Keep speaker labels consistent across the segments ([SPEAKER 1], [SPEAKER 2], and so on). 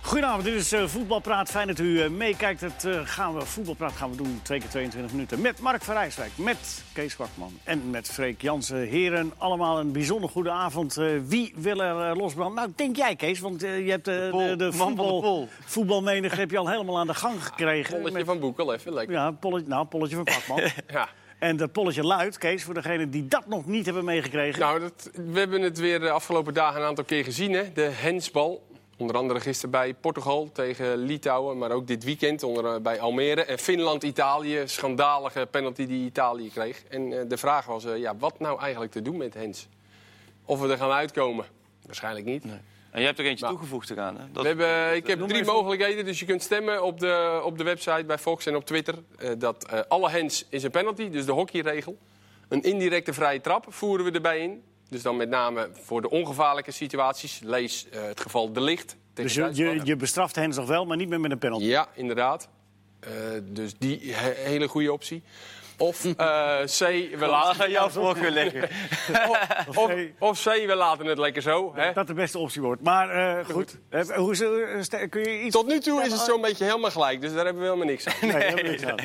[SPEAKER 1] Goedenavond, dit is eh, Voetbalpraat. Fijn dat u eh, meekijkt. Het eh, gaan we, Voetbalpraat gaan we doen twee keer 22 minuten. Met Mark van Rijswijk, met Kees Kwakman en met Freek Jansen. Heren, allemaal een bijzonder goede avond. Eh, wie wil er eh, losbranden? Nou, denk jij Kees, want eh, je hebt eh,
[SPEAKER 2] Pol,
[SPEAKER 1] de, de,
[SPEAKER 2] man van de Ah,
[SPEAKER 1] voetbal,
[SPEAKER 2] Pol.
[SPEAKER 1] voetbalmenigte heb je al helemaal aan de gang gekregen.
[SPEAKER 3] Bolletje
[SPEAKER 1] Met-
[SPEAKER 3] van Boekel, even lekker.
[SPEAKER 1] Ja, polletje, nou, polletje van Kwakman.
[SPEAKER 3] Ja.
[SPEAKER 1] en dat polletje luidt, Kees, voor degenen die dat nog niet hebben meegekregen.
[SPEAKER 3] Nou, dat, we hebben het weer de afgelopen dagen een aantal keer gezien, hè. De hensbal. Onder andere gisteren bij Portugal tegen Litouwen, maar ook dit weekend onder, eh, bij Almere. En Finland-Italië, schandalige penalty die Italië kreeg. En eh, de vraag was, eh, ja, wat nou eigenlijk te doen met hens? Of we er gaan uitkomen? Waarschijnlijk niet.
[SPEAKER 2] En jij hebt er eentje
[SPEAKER 3] Nou.
[SPEAKER 2] toegevoegd eraan. Hè? Dat-
[SPEAKER 3] We hebben, eh, ik heb
[SPEAKER 1] Noem
[SPEAKER 3] drie
[SPEAKER 1] even-
[SPEAKER 3] mogelijkheden, dus je kunt stemmen op de, op de website bij Fox en op Twitter. eh, dat eh, alle hands is een penalty, dus de hockeyregel. Een indirecte vrije trap voeren we erbij in. Dus dan met name voor de ongevaarlijke situaties. Lees eh, het geval de licht tegen
[SPEAKER 1] dus je, je,
[SPEAKER 3] Duitsland.
[SPEAKER 1] je bestraft hen nog wel, maar niet meer met een penalty.
[SPEAKER 3] Ja, inderdaad. Eh, dus die he- hele goede optie. Of eh, C, we
[SPEAKER 2] Laat
[SPEAKER 3] laten,
[SPEAKER 2] aan jouw voorkeur leggen.
[SPEAKER 3] of, of C, we laten het lekker zo. Hè?
[SPEAKER 1] Dat de beste optie wordt. Maar eh, goed, Eh, hoe, is het, eh, ste- kun je iets...
[SPEAKER 3] Tot nu toe is het zo'n beetje helemaal gelijk, dus daar hebben we helemaal niks aan.
[SPEAKER 1] Nee, helemaal niks aan.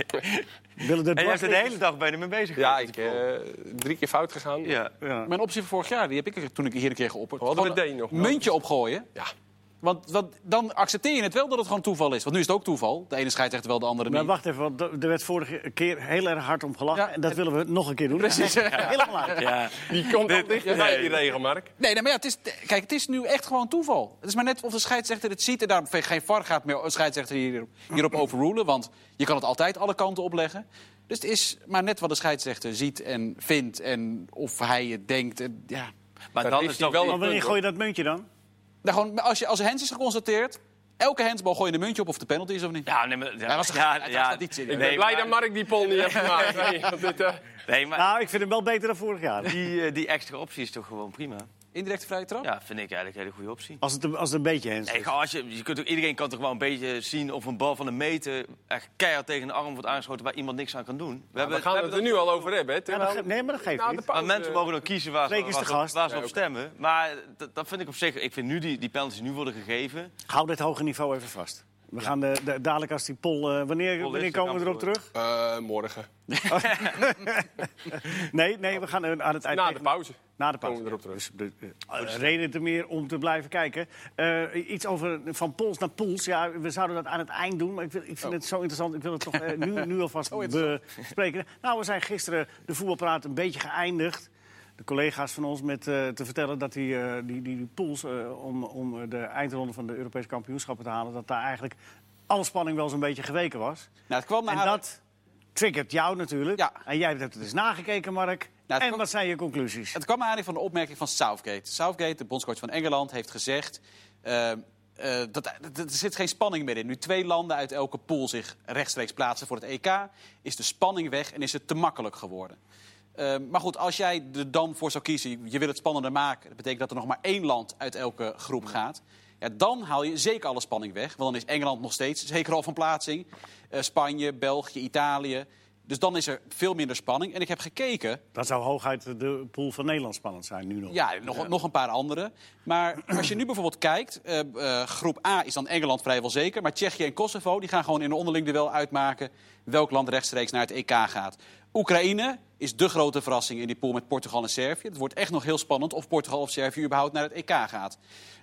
[SPEAKER 1] Willen de
[SPEAKER 2] En jij hebt er de
[SPEAKER 1] dwarsliggers-
[SPEAKER 2] hele dag bijna mee bezig
[SPEAKER 3] Ja,
[SPEAKER 2] geweest.
[SPEAKER 3] ik eh, drie keer fout gegaan.
[SPEAKER 2] Ja.
[SPEAKER 1] Ja.
[SPEAKER 4] Mijn optie van vorig jaar, die heb ik er- toen ik hier een keer geopperd.
[SPEAKER 3] We hadden
[SPEAKER 4] Gewoon
[SPEAKER 3] het D nog.
[SPEAKER 4] een Muntje opgooien.
[SPEAKER 3] Ja.
[SPEAKER 4] Want, want dan accepteer je het wel dat het gewoon toeval is. Want nu is het ook toeval. De ene scheidsrechter wel, de andere
[SPEAKER 1] Maar
[SPEAKER 4] niet.
[SPEAKER 1] wacht even, want da- er werd vorige keer heel erg hard om gelachen.
[SPEAKER 4] Ja,
[SPEAKER 1] en dat willen we nog een keer doen.
[SPEAKER 4] Precies.
[SPEAKER 1] Helemaal uit.
[SPEAKER 2] Ja.
[SPEAKER 3] Die komt
[SPEAKER 2] Dit-
[SPEAKER 3] al dichterbij,
[SPEAKER 2] nee.
[SPEAKER 3] die regel, Mark.
[SPEAKER 4] Nee, nee, maar ja, het is, kijk, het is nu echt gewoon toeval. Het is maar net of de scheidsrechter het ziet en daarom geen VAR gaat meer een scheidsrechter hier, hierop overrulen. Want je kan het altijd alle kanten opleggen. Dus het is maar net wat de scheidsrechter ziet en vindt en of hij het denkt. En, ja.
[SPEAKER 2] Maar
[SPEAKER 3] Dat
[SPEAKER 2] dan
[SPEAKER 3] is
[SPEAKER 2] is
[SPEAKER 3] hij
[SPEAKER 2] toch
[SPEAKER 3] wel
[SPEAKER 2] wel...
[SPEAKER 1] Maar wanneer gooi je dat muntje dan?
[SPEAKER 4] Nou, gewoon, als, je, als een hens is geconstateerd, elke hensbal gooi je een muntje op of de penalty is of niet.
[SPEAKER 2] Ja, nee, maar...
[SPEAKER 4] Hij was er-
[SPEAKER 2] ja,
[SPEAKER 4] hij was
[SPEAKER 2] ja.
[SPEAKER 4] er niet serieus.
[SPEAKER 3] Ik
[SPEAKER 2] Nee,
[SPEAKER 3] ben blij dat
[SPEAKER 2] maar-
[SPEAKER 3] Mark die pol niet heeft gemaakt. Nee, want dit, eh,
[SPEAKER 2] Nee, maar
[SPEAKER 1] Nou, ik vind hem wel beter dan vorig jaar.
[SPEAKER 2] die, eh, die extra optie is toch gewoon prima?
[SPEAKER 4] Indirecte vrije trap?
[SPEAKER 2] Ja, vind ik eigenlijk een hele goede optie.
[SPEAKER 1] Als het, een- als het een beetje hens.
[SPEAKER 2] Nee,
[SPEAKER 1] is.
[SPEAKER 2] gewoon als je, je kunt ook, iedereen kan toch wel een beetje zien of een bal van een meter echt keihard tegen een arm wordt aangeschoten waar iemand niks aan kan doen. We
[SPEAKER 3] we gaan het er nu al over hebben. Hè,
[SPEAKER 1] Ja,
[SPEAKER 3] terwijl-
[SPEAKER 1] dat ge- nee, maar dat geeft
[SPEAKER 3] Nou,
[SPEAKER 1] niet.
[SPEAKER 3] de pauze-
[SPEAKER 2] Maar mensen mogen dan kiezen waar ze,
[SPEAKER 1] Freek is
[SPEAKER 2] waar
[SPEAKER 1] de
[SPEAKER 2] ze op-
[SPEAKER 1] gast.
[SPEAKER 2] waar ze op
[SPEAKER 3] Ja,
[SPEAKER 2] stemmen. Maar dat, dat vind ik op zich. Ik vind nu die, die penalties die nu worden gegeven.
[SPEAKER 1] Hou dit hoge niveau even vast. We gaan de, de- dadelijk als die pol... eh, wanneer,
[SPEAKER 2] Pol is,
[SPEAKER 1] wanneer
[SPEAKER 2] dan
[SPEAKER 1] komen we
[SPEAKER 2] kan
[SPEAKER 1] erop
[SPEAKER 2] het
[SPEAKER 1] terug?
[SPEAKER 3] Eh, morgen.
[SPEAKER 1] Nee, nee, we gaan eh, aan het eind...
[SPEAKER 3] Na de
[SPEAKER 1] tegen-
[SPEAKER 3] pauze.
[SPEAKER 1] Na de pauze.
[SPEAKER 3] Komen we erop terug.
[SPEAKER 1] Dus de, eh, eh, reden te meer om te blijven kijken. Eh, iets over van pols naar pols. Ja, we zouden dat aan het eind doen. Maar ik, wil, ik
[SPEAKER 3] Oh.
[SPEAKER 1] vind het zo interessant. Ik wil het toch eh, nu, nu alvast bespreken. Nou, we zijn gisteren de voetbalpraat een beetje geëindigd. De collega's van ons met eh, te vertellen dat die, eh, die, die, die pools eh, om, om de eindronde van de Europese kampioenschappen te halen, dat daar eigenlijk alle spanning wel zo'n beetje geweken was.
[SPEAKER 4] Nou, het kwam naar
[SPEAKER 1] en dat triggert jou natuurlijk.
[SPEAKER 4] Ja. Nou,
[SPEAKER 1] En jij hebt het dus nagekeken, Mark.
[SPEAKER 4] het
[SPEAKER 1] en
[SPEAKER 4] komt-
[SPEAKER 1] wat zijn je conclusies?
[SPEAKER 4] Het kwam naar aanleiding van de opmerking van Southgate. Southgate, de bondscoach van Engeland, heeft gezegd... eh, eh, dat, dat- er zit geen spanning meer in. Nu twee landen uit elke pool zich rechtstreeks plaatsen voor het EK... is de spanning weg en is het te makkelijk geworden. Eh, maar goed, als jij er dan voor zou kiezen... je- je wil het spannender maken... dat betekent dat er nog maar één land uit elke groep gaat... Ja, dan haal je zeker alle spanning weg. Want dan is Engeland nog steeds zeker al van plaatsing. Eh, Spanje, België, Italië. Dus dan is er veel minder spanning. En ik heb gekeken
[SPEAKER 1] Dat zou hooguit de pool van Nederland spannend zijn nu nog.
[SPEAKER 4] ja, nog, nog een paar andere. Maar als je nu bijvoorbeeld kijkt, eh, eh, groep A is dan Engeland vrijwel zeker. Maar Tsjechië en Kosovo die gaan gewoon in een onderling duel uitmaken welk land rechtstreeks naar het EK gaat. Oekraïne is de grote verrassing in die pool met Portugal en Servië. Het wordt echt nog heel spannend of Portugal of Servië überhaupt naar het EK gaat.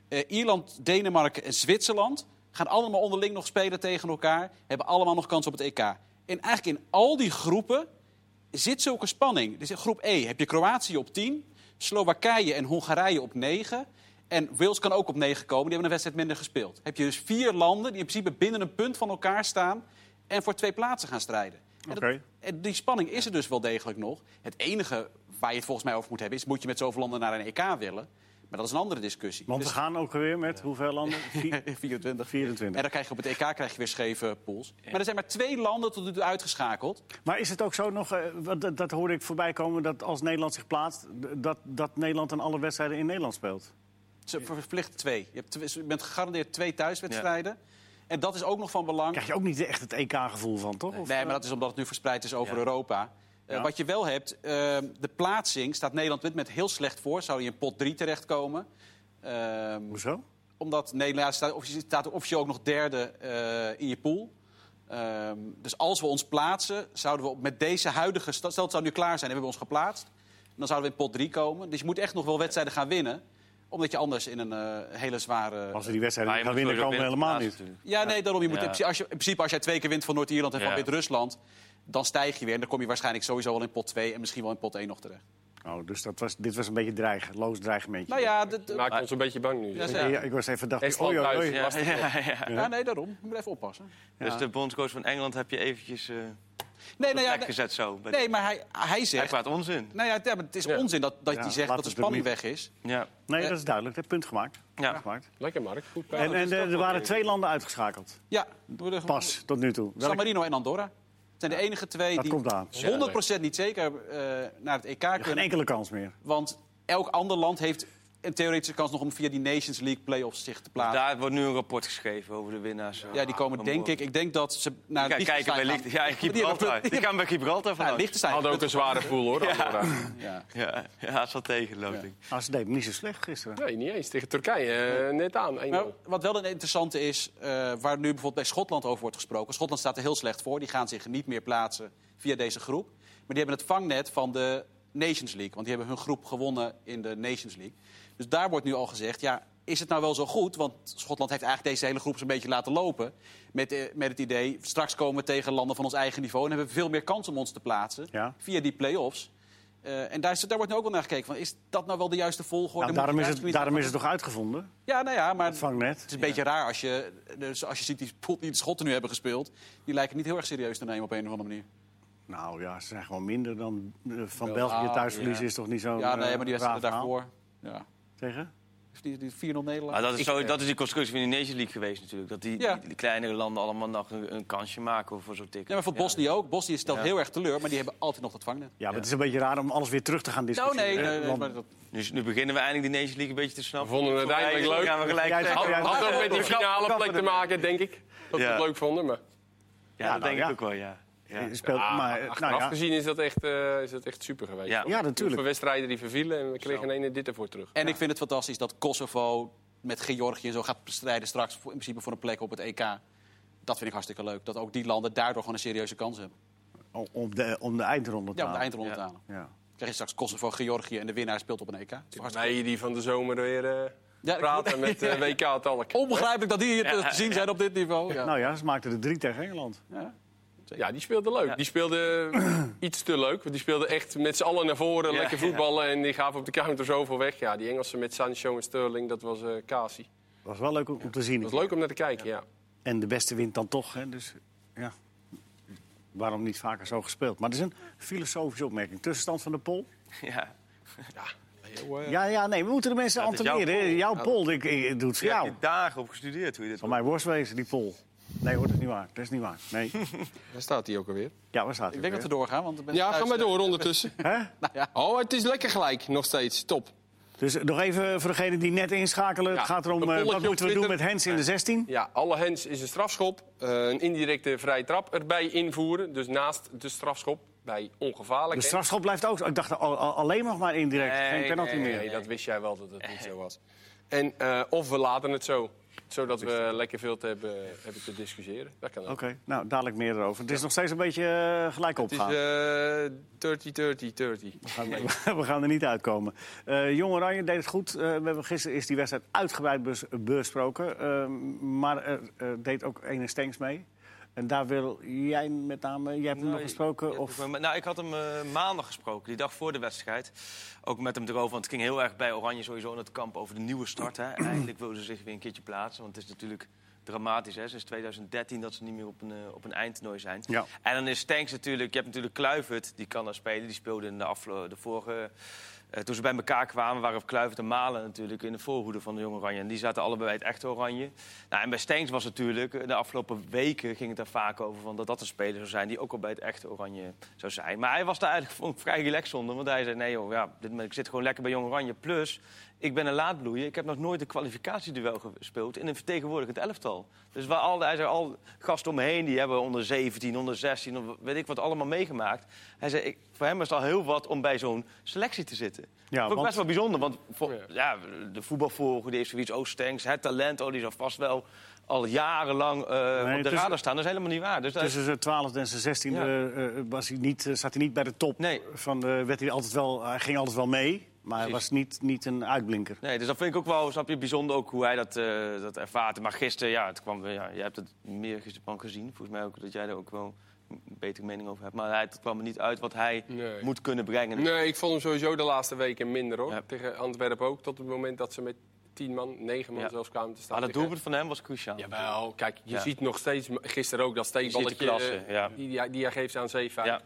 [SPEAKER 4] Eh, Ierland, Denemarken en Zwitserland gaan allemaal onderling nog spelen tegen elkaar. Hebben allemaal nog kans op het EK. En eigenlijk in al die groepen zit zulke spanning. Dus in groep E heb je Kroatië op 10, Slowakije en Hongarije op 9. En Wales kan ook op 9 komen, die hebben een wedstrijd minder gespeeld. Heb je dus vier landen die in principe binnen een punt van elkaar staan en voor twee plaatsen gaan strijden. En dat-
[SPEAKER 1] Oké.
[SPEAKER 4] en die spanning is er dus wel degelijk nog. Het enige waar je het volgens mij over moet hebben is: moet je met zoveel landen naar een EK willen? Maar dat is een andere discussie.
[SPEAKER 1] Want we
[SPEAKER 4] Dus
[SPEAKER 1] gaan ook weer met hoeveel landen? Vier-
[SPEAKER 4] 24. En
[SPEAKER 1] 24.
[SPEAKER 4] dan krijg je op het EK krijg je weer scheve pools. Maar er zijn maar twee landen tot nu toe uitgeschakeld.
[SPEAKER 1] Maar is het ook zo nog, eh, wat- dat, dat hoorde ik voorbij komen, dat als Nederland zich plaatst, d- dat, dat Nederland dan alle wedstrijden in Nederland speelt?
[SPEAKER 4] Ze verplicht twee. Je, hebt tw- je bent gegarandeerd twee thuiswedstrijden. En dat is ook nog van belang.
[SPEAKER 1] Krijg je ook niet echt het EK-gevoel van, toch? Of- eh,
[SPEAKER 4] nee, maar dat is omdat het nu verspreid is over
[SPEAKER 2] Ja.
[SPEAKER 4] Europa. Eh,
[SPEAKER 1] Ja.
[SPEAKER 4] Wat je wel hebt, eh, de plaatsing staat Nederland met, met heel slecht voor. Zou je in pot 3 terechtkomen? Ehm,
[SPEAKER 1] Hoezo?
[SPEAKER 4] Omdat Nederland staat officieel, staat officieel ook nog derde eh, in je pool. Ehm, dus als we ons plaatsen, zouden we met deze huidige... sta- Stel, het zou nu klaar zijn en we hebben ons geplaatst. Dan zouden we in pot 3 komen. Dus je moet echt nog wel wedstrijden gaan winnen. Omdat je anders in een eh, hele zware...
[SPEAKER 1] Als we die wedstrijd
[SPEAKER 5] Maar
[SPEAKER 1] niet
[SPEAKER 5] je
[SPEAKER 1] gaan
[SPEAKER 5] moet
[SPEAKER 1] winnen,
[SPEAKER 5] sowieso
[SPEAKER 1] komen we
[SPEAKER 5] winnen
[SPEAKER 1] helemaal niet.
[SPEAKER 5] daarnaast natuurlijk.
[SPEAKER 4] Ja, nee, daarom. Je moet
[SPEAKER 5] Ja.
[SPEAKER 4] in, principe, als je, in principe, als jij twee keer wint van Noord-Ierland en van
[SPEAKER 5] Ja.
[SPEAKER 4] Wit-Rusland... dan stijg je weer en dan kom je waarschijnlijk sowieso wel in pot 2... en misschien wel in pot 1 nog terecht.
[SPEAKER 1] Oh, dus dat was, dit was een beetje dreigen, loos dreigementje.
[SPEAKER 4] Nou ja, dat- dat-
[SPEAKER 3] Maakt ons een beetje bang nu.
[SPEAKER 4] Ja,
[SPEAKER 1] Ja, ja, ik was even dacht,
[SPEAKER 3] Estland
[SPEAKER 1] oh joh,
[SPEAKER 3] thuis,
[SPEAKER 1] oei.
[SPEAKER 3] ja.
[SPEAKER 5] Ja, ja, ja.
[SPEAKER 4] ja, nee, daarom. Je moet even oppassen.
[SPEAKER 5] Dus de bondscoach van Engeland heb je eventjes eh
[SPEAKER 4] Nee, nou ja,
[SPEAKER 5] plek
[SPEAKER 4] nee,
[SPEAKER 5] gezet zo. Bij
[SPEAKER 4] nee, maar hij, hij
[SPEAKER 5] Hij
[SPEAKER 4] zegt...
[SPEAKER 5] praat onzin.
[SPEAKER 4] Nou ja, het is
[SPEAKER 3] Ja.
[SPEAKER 4] onzin dat, dat
[SPEAKER 1] Ja,
[SPEAKER 4] hij zegt
[SPEAKER 1] laat
[SPEAKER 4] dat de
[SPEAKER 1] het
[SPEAKER 4] spanning
[SPEAKER 1] doen.
[SPEAKER 4] weg is.
[SPEAKER 5] Ja.
[SPEAKER 1] Nee, dat is duidelijk. Dat punt gemaakt.
[SPEAKER 5] Ja.
[SPEAKER 1] Punt gemaakt.
[SPEAKER 3] Lekker, Mark. Goed
[SPEAKER 1] En,
[SPEAKER 3] praten.
[SPEAKER 1] en eh, er waren twee landen uitgeschakeld.
[SPEAKER 4] Ja, door de-
[SPEAKER 1] Pas, tot nu toe.
[SPEAKER 4] San
[SPEAKER 1] Welk-
[SPEAKER 4] Marino en Andorra. Het zijn de enige twee
[SPEAKER 1] dat
[SPEAKER 4] die
[SPEAKER 1] komt aan.
[SPEAKER 4] 100% niet zeker eh, naar het EK
[SPEAKER 1] Geen
[SPEAKER 4] kunnen.
[SPEAKER 1] enkele kans meer.
[SPEAKER 4] Want elk ander land heeft een theoretische kans nog om via die Nations League play-offs zich te plaatsen.
[SPEAKER 5] Daar wordt nu een rapport geschreven over de winnaars. eh,
[SPEAKER 4] Ja, die komen denk ik. Ik denk dat ze naar
[SPEAKER 5] Kijk, kijken bij Licht. Ja, in Gibraltar. Die gaan bij Gibraltar
[SPEAKER 4] Ja,
[SPEAKER 5] vanaf.
[SPEAKER 4] Liechtenstein.
[SPEAKER 3] Hadden ook een zware pool, hoor. Andorra.
[SPEAKER 4] Ja.
[SPEAKER 5] Ja, ja, dat zal tegenlopen. denk ik.
[SPEAKER 1] Ah, ze deed niet zo slecht gisteren.
[SPEAKER 3] Nee, niet eens. Tegen Turkije. eh, net aan. 1-0.
[SPEAKER 4] Maar wat wel een interessante is, eh, waar nu bijvoorbeeld bij Schotland over wordt gesproken. Schotland staat er heel slecht voor. Die gaan zich niet meer plaatsen via deze groep. Maar die hebben het vangnet van de Nations League. Want die hebben hun groep gewonnen in de Nations League. Dus daar wordt nu al gezegd, ja, is het nou wel zo goed? Want Schotland heeft eigenlijk deze hele groep een beetje laten lopen. Met, eh, met het idee, straks komen we tegen landen van ons eigen niveau... en hebben we veel meer kans om ons te plaatsen
[SPEAKER 1] Ja.
[SPEAKER 4] via die play-offs. Eh, en daar, is, daar wordt nu ook wel naar gekeken. Van, is dat nou wel de juiste volgorde?
[SPEAKER 1] Nou,
[SPEAKER 4] Moet je
[SPEAKER 1] daarom, is
[SPEAKER 4] juist
[SPEAKER 1] het,
[SPEAKER 4] niet-
[SPEAKER 1] daarom is het toch uitgevonden?
[SPEAKER 4] Ja, nou ja, maar...
[SPEAKER 1] Het vangnet.
[SPEAKER 4] Het is een beetje raar als je, dus als je ziet die, pool die de Schotten nu hebben gespeeld. Die lijken niet heel erg serieus te nemen op een of andere manier.
[SPEAKER 1] Nou ja, ze zijn gewoon minder dan eh, van
[SPEAKER 4] Wel,
[SPEAKER 1] België
[SPEAKER 4] ah,
[SPEAKER 1] thuis verliezen is toch niet zo.
[SPEAKER 4] ja, nee, maar die wedstrijden
[SPEAKER 1] daarvoor.
[SPEAKER 4] daarvoor. Ja.
[SPEAKER 1] Tegen?
[SPEAKER 4] Of Die, die 4-0 Nederland.
[SPEAKER 5] Maar dat, is
[SPEAKER 4] Ik-
[SPEAKER 5] zo, dat is die constructie van de Nations League geweest natuurlijk. Dat die,
[SPEAKER 4] Ja.
[SPEAKER 5] die, die kleinere landen allemaal nog een, een kansje maken voor zo'n ticket.
[SPEAKER 4] Ja, maar voor Bosnië ook. Bosnië stelt
[SPEAKER 5] Ja.
[SPEAKER 4] heel erg teleur, maar die hebben altijd nog dat vangnet.
[SPEAKER 1] Ja, maar het is een beetje raar om alles weer terug te gaan
[SPEAKER 4] Nou,
[SPEAKER 1] discussiëren.
[SPEAKER 4] nee,
[SPEAKER 1] hè,
[SPEAKER 4] nee, nee,
[SPEAKER 1] want-
[SPEAKER 4] maar dat-
[SPEAKER 5] Dus nu beginnen we eindelijk die Nations League een beetje te snappen.
[SPEAKER 3] Vonden we het
[SPEAKER 5] Voor mij
[SPEAKER 3] eindelijk leuk.
[SPEAKER 5] Gaan we gelijk
[SPEAKER 1] Jij
[SPEAKER 5] zeggen.
[SPEAKER 1] zegt-
[SPEAKER 5] ja,
[SPEAKER 1] jij
[SPEAKER 3] Had
[SPEAKER 1] zegt-
[SPEAKER 3] ook met die finale plek te maken, denk ik. Dat we
[SPEAKER 5] Ja.
[SPEAKER 3] het leuk vonden. Maar
[SPEAKER 5] dat
[SPEAKER 1] nou,
[SPEAKER 5] denk
[SPEAKER 1] ja.
[SPEAKER 5] ik ook wel, ja. Ja,
[SPEAKER 1] eh, speelt, maar, eh,
[SPEAKER 3] achteraf
[SPEAKER 1] nou, ja.
[SPEAKER 3] gezien is dat, echt, eh, is dat echt super geweest.
[SPEAKER 5] Ja.
[SPEAKER 3] hoor.
[SPEAKER 1] Ja,
[SPEAKER 3] Heel veel
[SPEAKER 1] natuurlijk.
[SPEAKER 3] wedstrijden die vervielen en we kregen een dit ervoor terug.
[SPEAKER 4] En ik vind het fantastisch dat Kosovo met Georgië zo gaat strijden straks voor, in principe voor een plek op het EK. Dat vind ik hartstikke leuk. Dat ook die landen daardoor gewoon een serieuze kans hebben.
[SPEAKER 1] Om- Om de, om de eindronde te
[SPEAKER 4] Ja, om de
[SPEAKER 1] halen.
[SPEAKER 4] eindronde te
[SPEAKER 5] Ja.
[SPEAKER 4] halen.
[SPEAKER 1] Nou, Ja.
[SPEAKER 4] Dan krijg je straks Kosovo, Georgië en de winnaar speelt op een EK. Dat is hartstikke
[SPEAKER 3] Wij die van de zomer weer eh,
[SPEAKER 4] Ja,
[SPEAKER 3] praten
[SPEAKER 4] ik-
[SPEAKER 3] met eh, WK Talk.
[SPEAKER 4] Onbegrijpelijk dat die hier te zien zijn op dit niveau. Ja.
[SPEAKER 1] Nou ja, ze maakten er drie tegen Engeland.
[SPEAKER 4] Ja.
[SPEAKER 3] Ja, die speelde leuk. Die speelde iets te leuk. Want die speelde echt met z'n allen naar voren,
[SPEAKER 5] Ja,
[SPEAKER 3] lekker
[SPEAKER 5] ja.
[SPEAKER 3] voetballen. En die gaven op de counter zoveel weg. Ja, die Engelsen met Sancho en Sterling, dat was eh Kasi.
[SPEAKER 1] Was wel leuk om om te zien.
[SPEAKER 3] Dat was leuk om naar te kijken, ja.
[SPEAKER 1] En de beste wint dan toch. Hè? Dus ja, waarom niet vaker zo gespeeld? Maar het is een filosofische opmerking. Tussenstand van de pol.
[SPEAKER 5] ja.
[SPEAKER 1] Ja, ja, nee, we moeten de mensen
[SPEAKER 5] Ja, het is jouw
[SPEAKER 1] antwoorden. hè.
[SPEAKER 5] poll.
[SPEAKER 1] Jouw pol, ik, ik, ik doe het voor
[SPEAKER 5] Je hebt
[SPEAKER 1] jou.
[SPEAKER 5] hier dagen op gestudeerd hoe je dit
[SPEAKER 1] Van mij worst wezen, die pol. Nee hoor, dat is niet waar. Dat is niet waar. Nee.
[SPEAKER 6] Daar staat hij ook alweer.
[SPEAKER 1] Ja, waar staat hij?
[SPEAKER 4] Ik denk dat we
[SPEAKER 1] weer?
[SPEAKER 4] doorgaan, want ik ben
[SPEAKER 6] Ja,
[SPEAKER 4] thuis,
[SPEAKER 6] ga maar
[SPEAKER 4] eh,
[SPEAKER 6] door ondertussen.
[SPEAKER 1] Hè?
[SPEAKER 3] Nou
[SPEAKER 6] Oh, het is lekker gelijk nog steeds. Top.
[SPEAKER 1] Dus nog even voor degenen die net inschakelen.
[SPEAKER 3] Ja,
[SPEAKER 1] het gaat
[SPEAKER 3] een
[SPEAKER 1] erom, eh,
[SPEAKER 3] polletje
[SPEAKER 1] wat
[SPEAKER 3] op
[SPEAKER 1] moeten we doen met
[SPEAKER 3] Twitter.
[SPEAKER 1] Hens in de 16?
[SPEAKER 3] Ja, alle hens is een strafschop. eh, een indirecte vrije trap erbij invoeren. Dus naast de strafschop bij ongevaarlijk.
[SPEAKER 1] De
[SPEAKER 3] hè?
[SPEAKER 1] strafschop blijft ook. Ik dacht al- al- alleen nog maar indirect.
[SPEAKER 5] Nee,
[SPEAKER 1] Geen penalty
[SPEAKER 5] nee,
[SPEAKER 1] meer.
[SPEAKER 3] Nee, dat wist jij wel dat het niet zo was. En eh, of we laten het zo. Zodat we lekker veel te hebben, hebben te discussiëren. Dat kan ook.
[SPEAKER 1] Oké, nou dadelijk meer erover. Het is nog steeds een beetje eh, gelijk
[SPEAKER 6] Het is
[SPEAKER 1] opgaan.
[SPEAKER 6] eh 30, 30, 30.
[SPEAKER 1] We gaan- We gaan er niet uitkomen. Eh Jong Oranje deed het goed. Eh, we hebben gisteren is die wedstrijd uitgebreid bes- besproken. Eh, maar er eh, deed ook ene Stenks mee. En daar wil jij met name... Jij hebt hem nog gesproken?
[SPEAKER 5] Ja,
[SPEAKER 1] of...
[SPEAKER 5] ik ben- Nou, ik had hem eh, maandag gesproken, die dag voor de wedstrijd. Ook met hem erover, want het ging heel erg bij Oranje sowieso in het kamp over de nieuwe start. Hè. En Eindelijk wilden ze zich weer een keertje plaatsen, want het is natuurlijk dramatisch. Hè. Sinds 2013 dat ze niet meer op een, eh, op een eindtoernooi zijn.
[SPEAKER 1] Ja.
[SPEAKER 5] En dan is Stanks natuurlijk, je hebt natuurlijk Kluivert, die kan daar spelen. Die speelde in de, aflo- de vorige... eh, toen ze bij elkaar kwamen, waren Kluivert en Malen natuurlijk in de voorhoede van de Jong Oranje. En die zaten allebei bij het echte Oranje. Nou, en bij Stenks was natuurlijk, eh, de afgelopen weken ging het daar vaak over... Van dat dat een speler zou zijn die ook al bij het echte Oranje zou zijn. Maar hij was daar eigenlijk vond ik, vrij relaxed onder. Want hij zei, nee joh, ja, dit, ik zit gewoon lekker bij Jong Oranje. Plus, ik ben een laadbloeier. Ik heb nog nooit een kwalificatieduel gespeeld in een vertegenwoordigend elftal. Dus waar al, hij zei, al gasten om me heen, die hebben onder 17, onder 16, of weet ik wat allemaal meegemaakt. Hij zei, ik, voor hem is het al heel wat om bij zo'n selectie te zitten. Ja, Vond ik
[SPEAKER 1] want- Oh
[SPEAKER 5] best wel bijzonder, want voor- ja. de voetbalvolger die heeft zoiets, oh Stenks, het talent, oh, die zal vast wel al jarenlang eh,
[SPEAKER 1] Nee,
[SPEAKER 5] op de
[SPEAKER 1] het is-
[SPEAKER 5] radar staan. Dat is helemaal niet waar. Dus dat is-
[SPEAKER 1] Tussen zijn twaalfde en zijn zestiende
[SPEAKER 5] Ja.
[SPEAKER 1] eh, eh, was hij niet, eh, zat hij niet bij de top.
[SPEAKER 5] Nee.
[SPEAKER 1] Van, eh, werd hij, altijd wel, hij ging altijd wel mee, maar hij
[SPEAKER 5] Precies.
[SPEAKER 1] was niet, niet een uitblinker.
[SPEAKER 5] Nee, dus dat vind ik ook wel, snap je, bijzonder ook hoe hij dat, eh, dat ervaart. Maar gisteren, ja, het kwam, weer- ja, je hebt het meer gisteren van gezien. Volgens mij ook dat jij daar ook wel een betere mening over hebt. Maar hij, het kwam er niet uit wat hij
[SPEAKER 3] Nee.
[SPEAKER 5] moet kunnen brengen.
[SPEAKER 3] Nee, ik vond hem sowieso de laatste weken minder hoor.
[SPEAKER 5] Ja.
[SPEAKER 3] Tegen Antwerpen ook, tot het moment dat ze met tien man, negen man
[SPEAKER 5] Ja.
[SPEAKER 3] zelfs kwamen te staan.
[SPEAKER 5] Maar dat
[SPEAKER 3] Tegen-
[SPEAKER 5] doelpunt van hem was cruciaal.
[SPEAKER 3] Jawel, kijk, je
[SPEAKER 5] Ja.
[SPEAKER 3] ziet nog steeds, gisteren ook dat
[SPEAKER 5] Je ziet de
[SPEAKER 3] steekballetje
[SPEAKER 5] klasse,
[SPEAKER 3] eh,
[SPEAKER 5] ja.
[SPEAKER 3] die, die, die hij geeft aan Zeefuik.
[SPEAKER 5] Ja.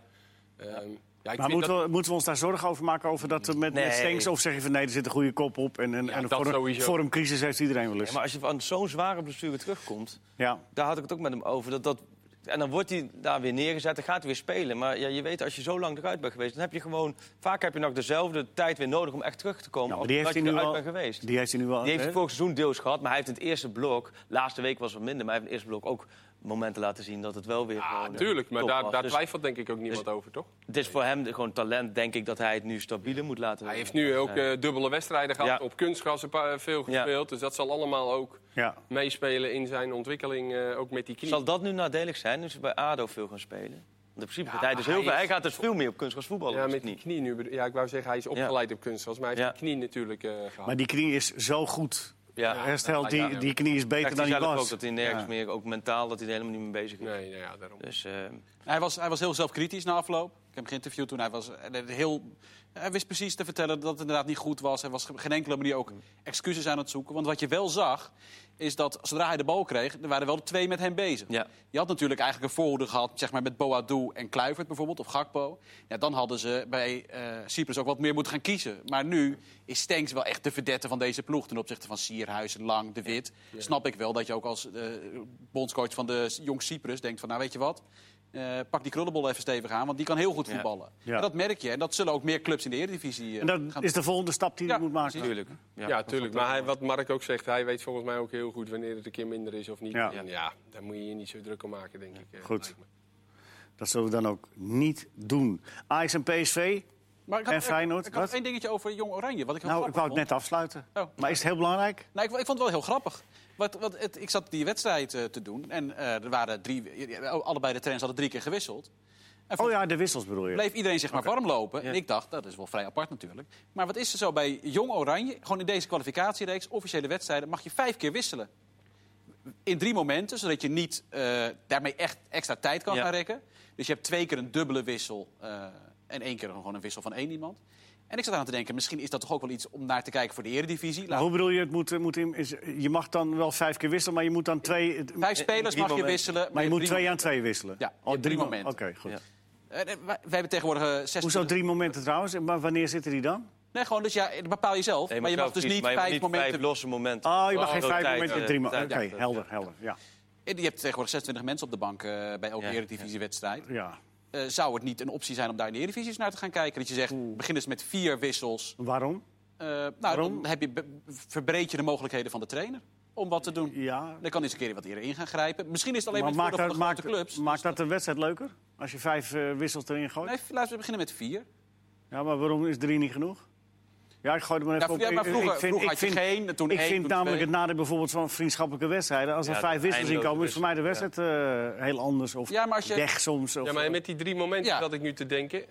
[SPEAKER 3] Ehm, ja, ik
[SPEAKER 1] Maar
[SPEAKER 3] vind
[SPEAKER 1] moeten,
[SPEAKER 3] dat-
[SPEAKER 1] we, moeten we ons daar zorgen over maken? Over dat eh, met,
[SPEAKER 5] Nee.
[SPEAKER 1] met Stenks? Of zeg je van nee, er zit een goede kop op. En, en, en
[SPEAKER 3] dat
[SPEAKER 1] een
[SPEAKER 3] sowieso.
[SPEAKER 1] vormcrisis heeft iedereen wel eens.
[SPEAKER 5] Maar als je van zo'n zware blessure terugkomt,
[SPEAKER 1] Ja.
[SPEAKER 5] daar had ik het ook met hem over. Dat, dat, en dan wordt hij daar weer neergezet, dan gaat hij weer spelen. Maar ja, je weet, als je zo lang eruit bent geweest, dan heb je gewoon... Vaak heb je nog dezelfde tijd weer nodig om echt terug te komen
[SPEAKER 1] Ja, maar
[SPEAKER 5] als
[SPEAKER 1] die
[SPEAKER 5] dat
[SPEAKER 1] heeft
[SPEAKER 5] je
[SPEAKER 1] hij nu
[SPEAKER 5] eruit
[SPEAKER 1] al-
[SPEAKER 5] bent geweest.
[SPEAKER 1] Die heeft hij nu wel.
[SPEAKER 5] Die heeft
[SPEAKER 1] hè?
[SPEAKER 5] het vorig seizoen deels gehad, maar hij heeft in het eerste blok... Laatste week was het minder, maar hij heeft in het eerste blok ook momenten laten zien... dat het wel weer
[SPEAKER 3] Ja,
[SPEAKER 5] gewoon, eh,
[SPEAKER 3] natuurlijk, Ah, maar
[SPEAKER 5] top
[SPEAKER 3] daar,
[SPEAKER 5] was.
[SPEAKER 3] daar
[SPEAKER 5] Dus
[SPEAKER 3] twijfelt denk ik ook niemand over, toch?
[SPEAKER 5] Het is voor hem gewoon talent, denk ik, dat hij het nu stabieler moet laten Dus,
[SPEAKER 3] Hij heeft nu ook
[SPEAKER 5] zijn.
[SPEAKER 3] eh, dubbele wedstrijden gehad,
[SPEAKER 5] Ja.
[SPEAKER 3] op kunstgras een paar- veel
[SPEAKER 5] Ja.
[SPEAKER 3] gespeeld. Dus dat zal allemaal ook
[SPEAKER 1] Ja.
[SPEAKER 3] meespelen in zijn ontwikkeling, eh, ook met die knie.
[SPEAKER 5] Zal dat nu nadelig zijn, dus bij ADO veel gaan spelen? Want in principe gaat hij dus
[SPEAKER 3] maar
[SPEAKER 5] heel
[SPEAKER 3] hij
[SPEAKER 5] veel... Hij gaat dus veel meer op kunstgras voetballen.
[SPEAKER 3] ja,
[SPEAKER 5] als
[SPEAKER 3] met
[SPEAKER 5] het
[SPEAKER 3] die
[SPEAKER 5] niet.
[SPEAKER 3] knie nu. bedo- Ja, ik wou zeggen, hij is opgeleid op kunstgras, maar hij heeft
[SPEAKER 5] Ja.
[SPEAKER 3] die knie natuurlijk eh, gehad.
[SPEAKER 1] Maar die knie is zo goed.
[SPEAKER 5] Ja.
[SPEAKER 1] Herstel,
[SPEAKER 5] Ja,
[SPEAKER 1] die,
[SPEAKER 5] ja.
[SPEAKER 1] die knie is beter
[SPEAKER 5] Zegt
[SPEAKER 1] dan
[SPEAKER 5] hij
[SPEAKER 1] die
[SPEAKER 5] zelf
[SPEAKER 1] was.
[SPEAKER 5] ook dat hij nergens
[SPEAKER 1] Ja.
[SPEAKER 5] meer, ook mentaal, dat hij er helemaal niet mee bezig is.
[SPEAKER 3] Nee, nou ja, daarom.
[SPEAKER 5] Dus, eh,
[SPEAKER 4] Hij was, hij was heel zelfkritisch na afloop. Ik heb hem geïnterviewd toen. Hij, was eh, heel, hij wist precies te vertellen dat het inderdaad niet goed was. Hij was op geen enkele manier
[SPEAKER 5] Mm.
[SPEAKER 4] ook excuses aan het zoeken. Want wat je wel zag, is dat zodra hij de bal kreeg... er waren wel de twee met hem bezig.
[SPEAKER 5] Ja.
[SPEAKER 4] Je had natuurlijk eigenlijk een voorhoede gehad zeg maar, met Boadu en Kluivert bijvoorbeeld, of Gakpo. Ja, dan hadden ze bij eh, Cyprus ook wat meer moeten gaan kiezen. Maar nu is Stenks wel echt de verdette van deze ploeg... ten opzichte van Sierhuis, Lang, De Wit. Snap ik wel dat je ook als eh, bondscoach van de Jong Cyprus denkt van... nou, weet je wat, eh, pak die krullenbol even stevig aan... want die kan heel goed
[SPEAKER 5] Ja.
[SPEAKER 4] voetballen.
[SPEAKER 1] Ja.
[SPEAKER 4] En dat merk je. En dat zullen ook meer clubs in de Eredivisie eh,
[SPEAKER 1] En
[SPEAKER 4] gaan
[SPEAKER 1] dat is de volgende stap die hij
[SPEAKER 4] Ja,
[SPEAKER 1] moet maken.
[SPEAKER 5] tuurlijk. Ja.
[SPEAKER 3] Ja, tuurlijk. Maar hij, wat Mark ook zegt, hij weet volgens mij ook heel goed wanneer het een keer minder is of niet.
[SPEAKER 1] Ja.
[SPEAKER 3] En ja, daar moet je je niet zo druk om maken, denk ik. eh,
[SPEAKER 1] Goed.
[SPEAKER 3] lijkt me.
[SPEAKER 1] Dat zullen we dan ook niet doen. Ajax en PSV.
[SPEAKER 4] Maar ik had,
[SPEAKER 1] En Feyenoord,
[SPEAKER 4] ik, ik had
[SPEAKER 1] wat?
[SPEAKER 4] één dingetje over Jong Oranje. Wat ik heel
[SPEAKER 1] Nou, ik
[SPEAKER 4] grappig
[SPEAKER 1] wou het
[SPEAKER 4] vond.
[SPEAKER 1] net afsluiten.
[SPEAKER 4] Oh.
[SPEAKER 1] Maar is het heel belangrijk?
[SPEAKER 4] Nou, ik, ik vond het wel heel grappig. Wat, wat, het, ik zat die wedstrijd eh, te doen en eh, er waren drie, ja, allebei de trainers hadden drie keer gewisseld. En
[SPEAKER 1] Oh
[SPEAKER 4] volgens
[SPEAKER 1] ja, de wissels bedoel je.
[SPEAKER 4] bleef iedereen zich maar warm lopen. En ik dacht, dat is wel vrij apart natuurlijk. Maar wat is er zo bij Jong Oranje? Gewoon in deze kwalificatiereeks, officiële wedstrijden, mag je vijf keer wisselen. In drie momenten, zodat je niet eh, daarmee echt extra tijd kan
[SPEAKER 5] Ja.
[SPEAKER 4] gaan rekken. Dus je hebt twee keer een dubbele wissel eh, en één keer gewoon een wissel van één iemand. En ik zat aan te denken, misschien is dat toch ook wel iets om naar te kijken voor de eredivisie.
[SPEAKER 1] Maar
[SPEAKER 4] Laten
[SPEAKER 1] Hoe bedoel je, het moet, moet in, is, je mag dan wel vijf keer wisselen, maar je moet dan twee... het-
[SPEAKER 4] Vijf spelers
[SPEAKER 5] drie
[SPEAKER 4] mag je
[SPEAKER 5] momenten.
[SPEAKER 4] wisselen.
[SPEAKER 1] maar je moet
[SPEAKER 4] drie
[SPEAKER 1] twee aan
[SPEAKER 4] momenten.
[SPEAKER 1] twee wisselen?
[SPEAKER 4] Ja, je
[SPEAKER 1] oh,
[SPEAKER 4] hebt drie
[SPEAKER 1] mo-
[SPEAKER 4] momenten.
[SPEAKER 1] Oké, goed.
[SPEAKER 5] Ja.
[SPEAKER 4] Eh, nee, wij, wij hebben tegenwoordig eh, 26...
[SPEAKER 1] Hoezo drie momenten trouwens? Maar wanneer zitten die dan?
[SPEAKER 4] Nee, gewoon, dus ja, dat bepaal je zelf.
[SPEAKER 5] Nee,
[SPEAKER 4] maar je mag
[SPEAKER 5] zelf
[SPEAKER 4] dus
[SPEAKER 5] kiezen,
[SPEAKER 4] niet
[SPEAKER 5] maar je mag
[SPEAKER 4] vijf momenten... Ah.
[SPEAKER 5] vijf losse momenten.
[SPEAKER 1] Oh, je mag
[SPEAKER 5] Wel
[SPEAKER 1] geen
[SPEAKER 5] veel
[SPEAKER 1] vijf
[SPEAKER 5] tijd,
[SPEAKER 1] momenten,
[SPEAKER 5] eh,
[SPEAKER 1] drie momenten. Oké,
[SPEAKER 5] tijd.
[SPEAKER 1] helder, helder. Ja.
[SPEAKER 4] Eh, Je hebt tegenwoordig 26 mensen op de bank eh, bij elke
[SPEAKER 5] Ja,
[SPEAKER 4] eredivisiewedstrijd.
[SPEAKER 1] ja.
[SPEAKER 4] Eh, zou het niet een optie zijn om daar in de eredivisie eens naar te gaan kijken? Dat je zegt, begin eens met vier wissels.
[SPEAKER 1] Waarom?
[SPEAKER 4] Eh, nou,
[SPEAKER 1] Waarom?
[SPEAKER 4] dan heb je, be- verbreed je de mogelijkheden van de trainer om wat te doen.
[SPEAKER 1] Ja.
[SPEAKER 4] Dan kan hij eens een keer wat eerder in gaan grijpen. Misschien is het alleen maar,
[SPEAKER 1] Maar maakt
[SPEAKER 4] voor
[SPEAKER 1] dat,
[SPEAKER 4] de grote
[SPEAKER 1] maakt,
[SPEAKER 4] clubs.
[SPEAKER 1] maakt dat de wedstrijd leuker? Als je vijf eh, wissels erin gooit?
[SPEAKER 4] Nee, laten we beginnen met vier.
[SPEAKER 1] Ja, maar waarom is drie niet genoeg? Ja, ik gooi er maar
[SPEAKER 4] Ja,
[SPEAKER 1] even op.
[SPEAKER 4] ja, maar
[SPEAKER 1] Ik- ik
[SPEAKER 4] vroeger-
[SPEAKER 1] vind-
[SPEAKER 4] vroeger
[SPEAKER 1] ik
[SPEAKER 4] had je
[SPEAKER 1] vind-
[SPEAKER 4] geen, toen
[SPEAKER 1] ik
[SPEAKER 4] één,
[SPEAKER 1] vind
[SPEAKER 4] toen
[SPEAKER 1] namelijk
[SPEAKER 4] twee.
[SPEAKER 1] het nadeel bijvoorbeeld van vriendschappelijke wedstrijden. Als er
[SPEAKER 5] Ja,
[SPEAKER 1] vijf wissels in
[SPEAKER 5] eindeloze
[SPEAKER 1] komen, is voor mij de wedstrijd eh, heel anders. Of
[SPEAKER 4] Ja, maar als je-
[SPEAKER 1] weg soms. Of,
[SPEAKER 3] Ja, maar met die drie momenten
[SPEAKER 4] Ja.
[SPEAKER 3] dat ik nu te denken.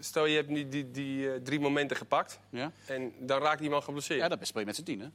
[SPEAKER 3] Stel, je hebt nu die, die eh, drie momenten gepakt.
[SPEAKER 4] Ja,
[SPEAKER 3] En dan raakt iemand geblesseerd.
[SPEAKER 4] ja
[SPEAKER 3] Ja,
[SPEAKER 4] dan speel je met z'n tien, hè?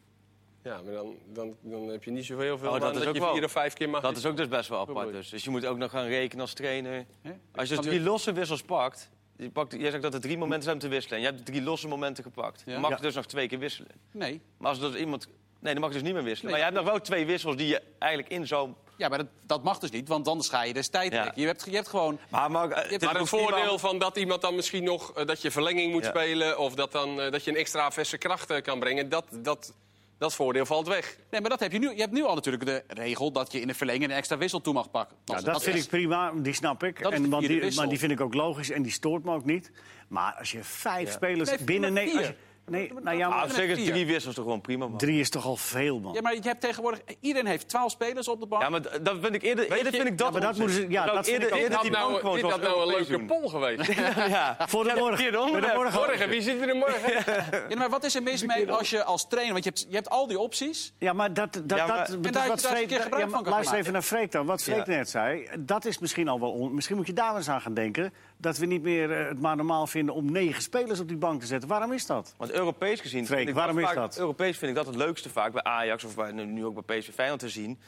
[SPEAKER 3] maar dan, dan, dan heb je niet zoveel veel
[SPEAKER 5] Oh, dat
[SPEAKER 3] aan
[SPEAKER 5] is
[SPEAKER 3] dat,
[SPEAKER 5] ook
[SPEAKER 3] je
[SPEAKER 5] wel-
[SPEAKER 3] vier of vijf keer mag.
[SPEAKER 5] Dat is ook dus best wel apart.
[SPEAKER 3] Moeilijk.
[SPEAKER 5] Dus. dus je moet ook nog gaan rekenen als trainer.
[SPEAKER 4] Ja.
[SPEAKER 5] Als je dus drie losse wissels pakt... Je pakt, jij zegt dat er drie momenten zijn om te wisselen. En je hebt drie losse momenten gepakt. Dan mag je
[SPEAKER 1] Ja.
[SPEAKER 5] dus nog twee keer wisselen.
[SPEAKER 4] Nee.
[SPEAKER 5] Maar als er dus iemand... Nee, dan mag je dus niet meer wisselen.
[SPEAKER 4] Nee.
[SPEAKER 5] Maar je hebt nog wel twee wissels die je eigenlijk in zou...
[SPEAKER 4] Ja, maar dat, dat mag dus niet, want anders ga je dus tijd
[SPEAKER 5] Ja.
[SPEAKER 4] rekken. Je hebt, je hebt gewoon...
[SPEAKER 5] Maar, maar, eh, is
[SPEAKER 3] Maar
[SPEAKER 5] ook
[SPEAKER 3] het voordeel
[SPEAKER 5] prima-
[SPEAKER 3] van dat iemand dan misschien nog eh, dat je verlenging moet
[SPEAKER 5] Ja.
[SPEAKER 3] spelen. of dat, dan, eh, dat je een extra verse kracht eh, kan brengen. Dat, dat, dat voordeel valt weg.
[SPEAKER 4] Nee, maar dat heb je nu. Je hebt nu al natuurlijk de regel dat je in de verlenging een extra wissel toe mag pakken.
[SPEAKER 1] Ja,
[SPEAKER 4] Als-
[SPEAKER 1] dat
[SPEAKER 4] als-
[SPEAKER 1] vind ik prima, die snap ik.
[SPEAKER 4] Dat is
[SPEAKER 1] En,
[SPEAKER 4] de
[SPEAKER 1] want
[SPEAKER 4] vierde
[SPEAKER 1] die,
[SPEAKER 4] wissel.
[SPEAKER 1] maar die vind ik ook logisch en die stoort me ook niet. Maar als je vijf spelers
[SPEAKER 4] Nee,
[SPEAKER 1] binnen...
[SPEAKER 4] maar
[SPEAKER 1] Nee, als
[SPEAKER 4] vier.
[SPEAKER 1] je- Nee, nou ja,
[SPEAKER 2] Ah,
[SPEAKER 1] maar
[SPEAKER 2] zeker
[SPEAKER 4] vier.
[SPEAKER 2] drie wissels toch gewoon prima, man.
[SPEAKER 1] drie is toch al veel, man.
[SPEAKER 4] Ja, maar je hebt tegenwoordig... Iedereen heeft 12 spelers op de bank.
[SPEAKER 2] Ja, maar d- dat vind ik eerder, eerder vind ik dat.
[SPEAKER 1] Ja, maar dat
[SPEAKER 2] onzin.
[SPEAKER 1] moeten ze- ja,
[SPEAKER 2] ik
[SPEAKER 1] dat vind
[SPEAKER 2] eerder,
[SPEAKER 1] ik ook.
[SPEAKER 2] eerder
[SPEAKER 3] Dit had
[SPEAKER 2] die
[SPEAKER 3] nou,
[SPEAKER 2] bankquote
[SPEAKER 3] dit
[SPEAKER 2] was
[SPEAKER 3] had nou een
[SPEAKER 2] Europees
[SPEAKER 3] leuke
[SPEAKER 2] doen.
[SPEAKER 3] pol geweest.
[SPEAKER 2] Ja,
[SPEAKER 1] Voor de morgen.
[SPEAKER 2] verkeerde
[SPEAKER 1] Voor de
[SPEAKER 2] onderwerp.
[SPEAKER 1] morgen.
[SPEAKER 3] Morgen, wie zit er in morgen?
[SPEAKER 4] Ja, maar wat is er mis mee als je als trainer... Want je hebt, je hebt al die opties.
[SPEAKER 1] Ja, maar dat, dat,
[SPEAKER 2] Ja, maar-
[SPEAKER 1] dat-
[SPEAKER 2] En
[SPEAKER 1] dat,
[SPEAKER 4] daar-
[SPEAKER 1] wat
[SPEAKER 4] daar
[SPEAKER 1] Freek,
[SPEAKER 4] een keer
[SPEAKER 1] ja,
[SPEAKER 4] gebruik
[SPEAKER 1] maar
[SPEAKER 4] van kan
[SPEAKER 1] luister
[SPEAKER 4] maken.
[SPEAKER 1] even naar Freek dan. Wat Freek net zei, dat is misschien al wel... On... Misschien moet je daar eens aan gaan denken... dat we niet meer eh, het maar normaal vinden om negen spelers op die bank te zetten. Waarom is dat?
[SPEAKER 2] Want Europees gezien...
[SPEAKER 1] Freek,
[SPEAKER 2] vind ik
[SPEAKER 1] waarom is
[SPEAKER 2] vaak-
[SPEAKER 1] dat?
[SPEAKER 2] Europees vind ik dat het leukste vaak bij Ajax of bij, nu nu ook bij PSV Feyenoord te zien.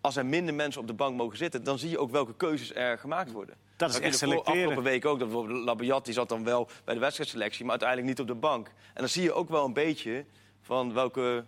[SPEAKER 2] Als er minder mensen op de bank mogen zitten... dan zie je ook welke keuzes er gemaakt worden.
[SPEAKER 1] Dat is
[SPEAKER 2] heb je
[SPEAKER 1] echt
[SPEAKER 2] de voor-
[SPEAKER 1] selecteren.
[SPEAKER 2] Afgelopen week ook. Dat bijvoorbeeld Labiat die zat dan wel bij de wedstrijdselectie... maar uiteindelijk niet op de bank. En dan zie je ook wel een beetje van welke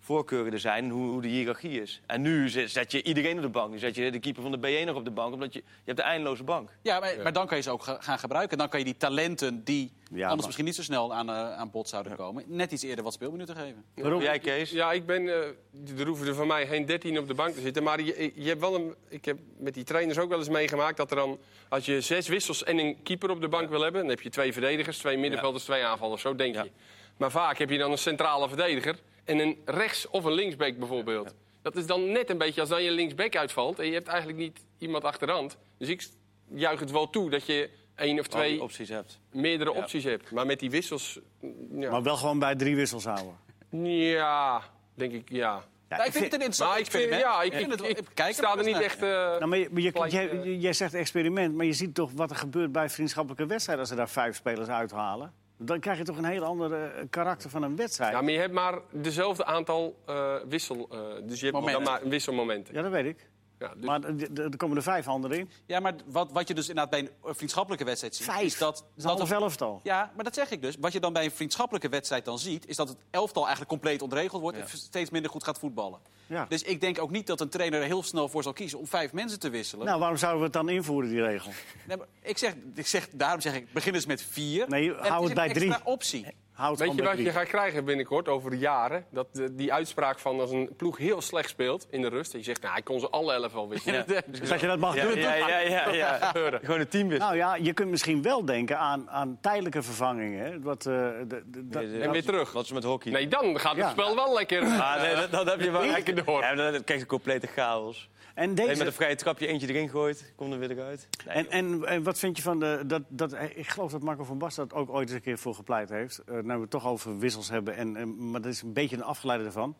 [SPEAKER 2] voorkeuren er zijn en hoe, hoe de hiërarchie is. En nu zet zet je iedereen op de bank. Nu zet je de keeper van de B1 nog op de bank... omdat je, je hebt de eindeloze bank.
[SPEAKER 4] Ja, maar, maar dan kan je ze ook ga- gaan gebruiken. Dan kan je die talenten die anders
[SPEAKER 1] maar-
[SPEAKER 4] misschien niet zo snel aan, eh, aan bod zouden komen... net iets eerder wat speelminuten geven.
[SPEAKER 1] Waarom?
[SPEAKER 2] Jij, Kees?
[SPEAKER 3] Ja, ik ben, eh er hoeven er van mij geen 13 op de bank te zitten. Maar je, je hebt wel een, ik heb met die trainers ook wel eens meegemaakt dat er dan... als je zes wissels en een keeper op de bank wil hebben... dan heb je twee verdedigers, twee middenvelders, twee aanvallers. Zo denk
[SPEAKER 2] Ja.
[SPEAKER 3] je. Maar vaak heb je dan een centrale verdediger... en een rechts- of een linksback bijvoorbeeld. Dat is dan net een beetje als dan je linksback uitvalt... en je hebt eigenlijk niet iemand achterhand. Dus ik juich het wel toe dat je één of
[SPEAKER 2] Al die
[SPEAKER 3] twee
[SPEAKER 2] opties hebt.
[SPEAKER 3] meerdere
[SPEAKER 2] Ja.
[SPEAKER 3] opties hebt. Maar met die wissels... mm, Ja,
[SPEAKER 1] Maar wel gewoon bij drie wissels houden.
[SPEAKER 3] ja denk ik, ja...
[SPEAKER 1] Ja,
[SPEAKER 4] Nou,
[SPEAKER 1] ik
[SPEAKER 4] ik vind
[SPEAKER 1] vind-
[SPEAKER 4] het een interessant
[SPEAKER 3] Maar ik, vind,
[SPEAKER 4] experiment.
[SPEAKER 3] ja, ik,
[SPEAKER 4] vind
[SPEAKER 3] ik,
[SPEAKER 4] het wel-
[SPEAKER 3] ik,
[SPEAKER 4] ik kijk
[SPEAKER 3] sta
[SPEAKER 4] wel
[SPEAKER 3] er
[SPEAKER 4] eens
[SPEAKER 3] niet
[SPEAKER 4] naar.
[SPEAKER 3] echt... eh,
[SPEAKER 1] Nou, maar je- maar je-
[SPEAKER 3] Gelijk,
[SPEAKER 1] jij,
[SPEAKER 3] eh,
[SPEAKER 1] jij zegt experiment, maar je ziet toch wat er gebeurt bij vriendschappelijke wedstrijden als ze daar vijf spelers uithalen. Dan krijg je toch een heel ander eh, karakter van een wedstrijd.
[SPEAKER 3] ja,
[SPEAKER 1] Ja,
[SPEAKER 3] maar je hebt maar dezelfde aantal eh, wissel... eh, dus je hebt
[SPEAKER 4] Momenten.
[SPEAKER 3] dan maar wisselmomenten.
[SPEAKER 1] dat weet ik.
[SPEAKER 3] Ja, dus-
[SPEAKER 1] Maar er- er er komen er vijf anderen in.
[SPEAKER 4] Ja, maar wat, wat je dus inderdaad bij een eh, vriendschappelijke wedstrijd ziet...
[SPEAKER 1] Vijf.
[SPEAKER 4] is dat,
[SPEAKER 1] Dat is
[SPEAKER 4] dat
[SPEAKER 1] een half elftal.
[SPEAKER 4] Ja, maar dat zeg ik dus. Wat je dan bij een vriendschappelijke wedstrijd dan ziet... is dat het elftal eigenlijk compleet ontregeld wordt... en steeds minder goed gaat voetballen.
[SPEAKER 1] Ja.
[SPEAKER 4] Dus ik denk ook niet dat een trainer er heel snel voor zal kiezen... om vijf mensen te wisselen.
[SPEAKER 1] Nou, waarom zouden we het dan invoeren, die regel?
[SPEAKER 4] Nee, maar ik zeg, ik zeg, daarom zeg ik, begin eens met vier.
[SPEAKER 1] Nee,
[SPEAKER 4] En
[SPEAKER 1] hou het
[SPEAKER 4] is
[SPEAKER 1] bij
[SPEAKER 4] een extra
[SPEAKER 1] drie.
[SPEAKER 4] optie.
[SPEAKER 1] Houd
[SPEAKER 3] Weet
[SPEAKER 1] het
[SPEAKER 3] je
[SPEAKER 1] gewoon bij
[SPEAKER 3] wat je
[SPEAKER 1] drie.
[SPEAKER 3] gaat krijgen binnenkort over jaren? Dat eh, die uitspraak van als een ploeg heel slecht speelt in de rust... en je zegt, nou, hij kon ze alle elf al wisselen.
[SPEAKER 1] Dus dat je dat mag
[SPEAKER 2] Ja,
[SPEAKER 1] doen.
[SPEAKER 2] ja, ja, ja, ja. Gewoon een team
[SPEAKER 1] Nou ja, je kunt misschien wel denken aan, aan tijdelijke vervangingen. hè. Wat, eh, de- de- dat-
[SPEAKER 3] En weer terug.
[SPEAKER 2] Wat is met hockey?
[SPEAKER 3] Nee, dan gaat het
[SPEAKER 1] Ja.
[SPEAKER 3] spel wel lekker.
[SPEAKER 2] Ah, nee, dat, dat heb je wel.
[SPEAKER 3] Lekker door.
[SPEAKER 2] Ja, dan krijg je complete chaos.
[SPEAKER 1] En
[SPEAKER 2] Nee, met een
[SPEAKER 1] deze...
[SPEAKER 2] vrije trapje eentje erin gooit, komt er weer eruit. Nee,
[SPEAKER 1] En, en, en wat vind je van de, dat, dat... Ik geloof dat Marco van Basten dat ook ooit eens een keer voor gepleit heeft. Eh nou, we het toch over wissels hebben. En, en- maar dat is een beetje een afgeleide ervan.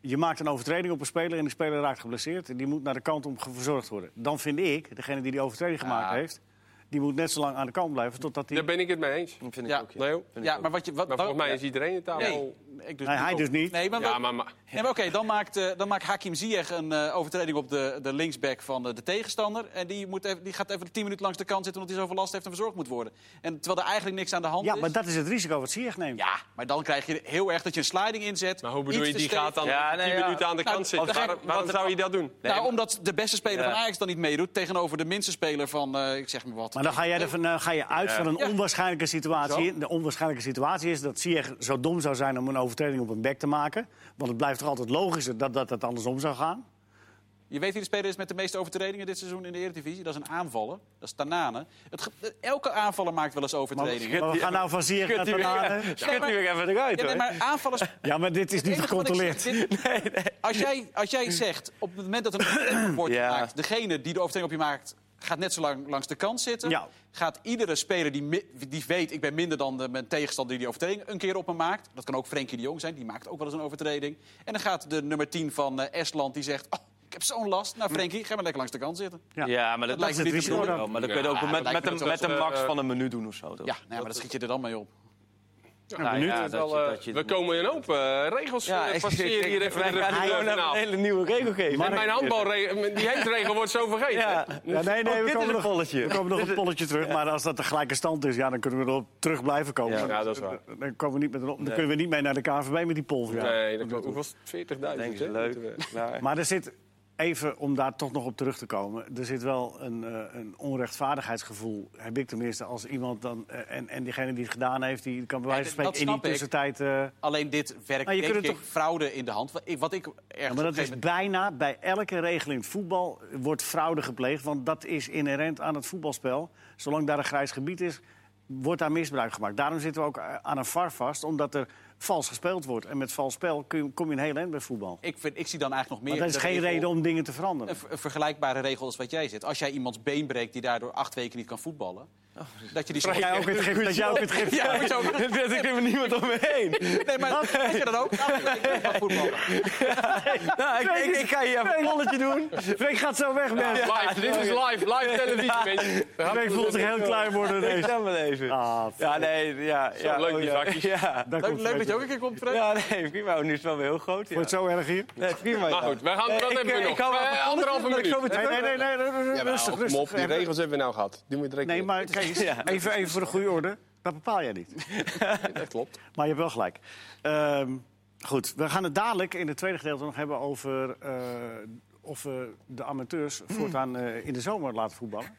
[SPEAKER 1] Je maakt een overtreding op een speler en die speler raakt geblesseerd. En die moet naar de kant om ge- verzorgd worden. Dan vind ik, degene die die overtreding gemaakt
[SPEAKER 4] Ja.
[SPEAKER 1] heeft... die moet net zo lang aan de kant blijven totdat die...
[SPEAKER 3] Daar ben ik het mee eens.
[SPEAKER 2] dat vind ik
[SPEAKER 4] Ja.
[SPEAKER 2] ook. Ja.
[SPEAKER 3] Nee, hoor.
[SPEAKER 2] Vind ik
[SPEAKER 4] Oh, Ja,
[SPEAKER 2] ook.
[SPEAKER 4] maar wat je... Wat,
[SPEAKER 3] maar volgens mij is iedereen het daar
[SPEAKER 4] Nee,
[SPEAKER 3] wel...
[SPEAKER 4] ik dus
[SPEAKER 1] Nee, hij
[SPEAKER 4] ook.
[SPEAKER 1] dus niet.
[SPEAKER 4] Nee, maar,
[SPEAKER 3] Ja,
[SPEAKER 4] wat-
[SPEAKER 3] maar, maar
[SPEAKER 4] nee, maar oké, dan, maakt, eh, dan maakt Hakim Ziyech een eh, overtreding op de, de linksback van eh, de tegenstander. En die, moet even, die gaat even tien minuten langs de kant zitten omdat hij zoveel last heeft en verzorgd moet worden. En terwijl er eigenlijk niks aan de hand
[SPEAKER 1] Ja,
[SPEAKER 4] is.
[SPEAKER 1] maar dat is het risico wat Ziyech neemt.
[SPEAKER 4] Ja, maar dan krijg je heel erg dat je een sliding inzet.
[SPEAKER 3] maar hoe bedoel
[SPEAKER 4] iets
[SPEAKER 3] je,
[SPEAKER 4] te
[SPEAKER 3] die
[SPEAKER 4] stevig.
[SPEAKER 3] gaat dan
[SPEAKER 2] Ja, nee,
[SPEAKER 3] 10
[SPEAKER 2] ja.
[SPEAKER 3] minuten aan de
[SPEAKER 4] Nou,
[SPEAKER 3] kant zitten?
[SPEAKER 4] wat-
[SPEAKER 3] Waarom, waarom zou je dat doen?
[SPEAKER 4] nou,
[SPEAKER 2] maar-
[SPEAKER 4] omdat de beste speler
[SPEAKER 2] Ja.
[SPEAKER 4] van Ajax dan niet meedoet tegenover de minste speler van, eh, ik zeg maar wat.
[SPEAKER 1] Maar dan ga, jij er van, eh, ga je uit van een
[SPEAKER 4] Ja.
[SPEAKER 1] onwaarschijnlijke situatie. De onwaarschijnlijke situatie is dat Ziyech zo dom zou zijn om een overtreding op een bek te maken. Want het blijft toch altijd logischer dat dat, dat andersom zou gaan.
[SPEAKER 4] Je weet wie de speler is met de meeste overtredingen dit seizoen in de Eredivisie? Dat is een aanvaller. Dat is Tanane. Het ge- eh, elke aanvaller maakt wel eens
[SPEAKER 1] Maar,
[SPEAKER 4] overtredingen.
[SPEAKER 1] maar we gaan nou van Ziyech naar
[SPEAKER 2] Schud die weer-
[SPEAKER 1] Tanane.
[SPEAKER 2] Schud die weer even eruit,
[SPEAKER 4] Ja, nee,
[SPEAKER 2] hoor.
[SPEAKER 4] maar aanvallers... Het
[SPEAKER 1] Ja, maar dit is niet
[SPEAKER 4] enige wat ik
[SPEAKER 1] gecontroleerd.
[SPEAKER 4] zeg, dit- Als, jij, als jij zegt, op het moment dat een overtreding wordt
[SPEAKER 2] Ja.
[SPEAKER 4] gemaakt... degene die de overtreding op je maakt, gaat net zo lang langs de kant zitten...
[SPEAKER 1] Ja.
[SPEAKER 4] gaat iedere speler die, mi- die weet... ik ben minder dan de, mijn tegenstander die die overtreding een keer op me maakt... dat kan ook Frenkie de Jong zijn, die maakt ook wel eens een overtreding... en dan gaat de nummer 10 van eh, Estland, die zegt... Oh, ik heb zo'n last. Nou, Frenkie, ga maar lekker langs de kant zitten.
[SPEAKER 1] Ja.
[SPEAKER 2] Ja. maar dat,
[SPEAKER 1] Dat
[SPEAKER 2] lijkt
[SPEAKER 1] is
[SPEAKER 2] me niet
[SPEAKER 1] het
[SPEAKER 2] te
[SPEAKER 1] risico
[SPEAKER 2] bedoelen.
[SPEAKER 1] dan.
[SPEAKER 2] Maar dat kun je ook
[SPEAKER 4] Ja,
[SPEAKER 2] met,
[SPEAKER 4] dat lijkt
[SPEAKER 2] met,
[SPEAKER 4] me
[SPEAKER 2] een,
[SPEAKER 4] toch
[SPEAKER 2] met een
[SPEAKER 3] wel,
[SPEAKER 2] max
[SPEAKER 3] eh,
[SPEAKER 2] van een minuut doen of zo. toch?
[SPEAKER 4] Ja, nou, maar dat schiet je er dan mee op.
[SPEAKER 2] Nou
[SPEAKER 3] Nu
[SPEAKER 2] ja,
[SPEAKER 3] is
[SPEAKER 2] dat
[SPEAKER 3] wel,
[SPEAKER 2] je-
[SPEAKER 3] eh,
[SPEAKER 2] dat je-
[SPEAKER 3] we komen in een hoop eh, regels
[SPEAKER 2] Ja,
[SPEAKER 3] eh,
[SPEAKER 2] ik- ik-
[SPEAKER 3] passeren hier even
[SPEAKER 2] wij
[SPEAKER 3] de
[SPEAKER 2] gaan
[SPEAKER 3] revue
[SPEAKER 2] gewoon even
[SPEAKER 3] ernaaf.
[SPEAKER 2] een hele nieuwe regel geven.
[SPEAKER 1] Maar-
[SPEAKER 3] En mijn handbalregel, die heetregel wordt zo vergeten.
[SPEAKER 2] Ja.
[SPEAKER 1] Ja, nee,
[SPEAKER 2] Oh,
[SPEAKER 1] nee, we
[SPEAKER 2] dit is
[SPEAKER 1] komen,
[SPEAKER 2] een
[SPEAKER 1] nog,
[SPEAKER 2] polletje.
[SPEAKER 1] we komen nog een polletje terug. Maar als dat de gelijke stand is, ja, dan kunnen we erop terug blijven komen.
[SPEAKER 2] Ja.
[SPEAKER 3] Ja, dat is waar.
[SPEAKER 1] Dan, komen we niet met een op- dan kunnen we niet mee naar de KNVB met die polver.
[SPEAKER 3] Nee, dat klopt. Hoeveel? 40.000.
[SPEAKER 2] Denk
[SPEAKER 3] hè?
[SPEAKER 2] je, leuk. Klaar.
[SPEAKER 1] Maar er zit, even om daar toch nog op terug te komen... er zit wel een, eh, een onrechtvaardigheidsgevoel, heb ik tenminste, als iemand dan... eh, en, en diegene die het gedaan heeft, die kan bij wijze van
[SPEAKER 4] dat
[SPEAKER 1] spreken in die
[SPEAKER 4] snap ik.
[SPEAKER 1] tussentijd... eh,
[SPEAKER 4] Alleen dit werkt
[SPEAKER 1] Maar je
[SPEAKER 4] denk
[SPEAKER 1] kunt
[SPEAKER 4] ik
[SPEAKER 1] het toch-
[SPEAKER 4] fraude in de hand. Wat ik, wat ik ergens
[SPEAKER 1] maar
[SPEAKER 4] op
[SPEAKER 1] dat
[SPEAKER 4] een gegeven
[SPEAKER 1] is
[SPEAKER 4] moment-
[SPEAKER 1] bijna bij elke regel in het voetbal wordt fraude gepleegd. Want dat is inherent aan het voetbalspel. Zolang daar een grijs gebied is, wordt daar misbruik gemaakt. Daarom zitten we ook eh, aan een VAR vast, omdat er vals gespeeld wordt. En met vals spel kun je- kom je een heel eind bij voetbal.
[SPEAKER 4] Ik, vind, ik zie dan eigenlijk nog
[SPEAKER 1] Maar
[SPEAKER 4] meer...
[SPEAKER 1] dat is geen reden om dingen te
[SPEAKER 4] Een,
[SPEAKER 1] veranderen.
[SPEAKER 4] ver- een vergelijkbare regel als wat jij zit. Als jij iemands been breekt die daardoor acht weken niet kan voetballen... dat je die...
[SPEAKER 1] Dat jij ook in het gif- dat jij ook in het gif-
[SPEAKER 4] Ja, hoezo?
[SPEAKER 2] Ik heb er niemand om me heen.
[SPEAKER 4] Nee, maar dat heb je dan ook. Nou, ik wil maar voetballen.
[SPEAKER 2] Nou, ik, ik, ik ga hier even een balletje doen.
[SPEAKER 1] Freek gaat zo weg, man.
[SPEAKER 3] Live, dit is live, live televisie, mensen.
[SPEAKER 1] Freek voelt zich heel klein worden
[SPEAKER 2] Ik
[SPEAKER 1] ineens.
[SPEAKER 2] stem wel even.
[SPEAKER 1] Ah,
[SPEAKER 2] Ja, nee, ja. ja oh,
[SPEAKER 3] leuk, die
[SPEAKER 2] ja.
[SPEAKER 3] vakjes.
[SPEAKER 2] Ja.
[SPEAKER 1] daar
[SPEAKER 3] Leuk,
[SPEAKER 1] komt
[SPEAKER 3] leuk
[SPEAKER 1] Freek.
[SPEAKER 3] dat je ook een keer komt, Fred.
[SPEAKER 2] ja, nee, prima. Oh, Nu is het wel weer heel groot. Ja.
[SPEAKER 1] Wordt het zo erg hier?
[SPEAKER 2] Nee, prima.
[SPEAKER 3] Maar
[SPEAKER 2] ja.
[SPEAKER 3] goed, we gaan-
[SPEAKER 2] Nee,
[SPEAKER 3] dat
[SPEAKER 2] ik,
[SPEAKER 3] hebben we
[SPEAKER 2] eh,
[SPEAKER 3] nog.
[SPEAKER 2] Ik hou
[SPEAKER 3] Eh,
[SPEAKER 2] wel van
[SPEAKER 3] anderhalve
[SPEAKER 2] dat ik zo
[SPEAKER 3] minuut.
[SPEAKER 2] meteen-
[SPEAKER 1] Nee, nee, nee, nee, nee, nee, rustig,
[SPEAKER 7] Kom op,
[SPEAKER 1] rustig.
[SPEAKER 7] die regels hebben we nou gehad. Die moet je er
[SPEAKER 1] Nee, maar kijk, eens,
[SPEAKER 2] Ja.
[SPEAKER 1] even, even voor de goede orde. Dat bepaal jij niet.
[SPEAKER 3] Dat klopt.
[SPEAKER 1] Maar je hebt wel gelijk. Ehm, goed, we gaan het dadelijk in het tweede gedeelte nog hebben over... eh, of we de amateurs voortaan eh, in de zomer laten voetballen.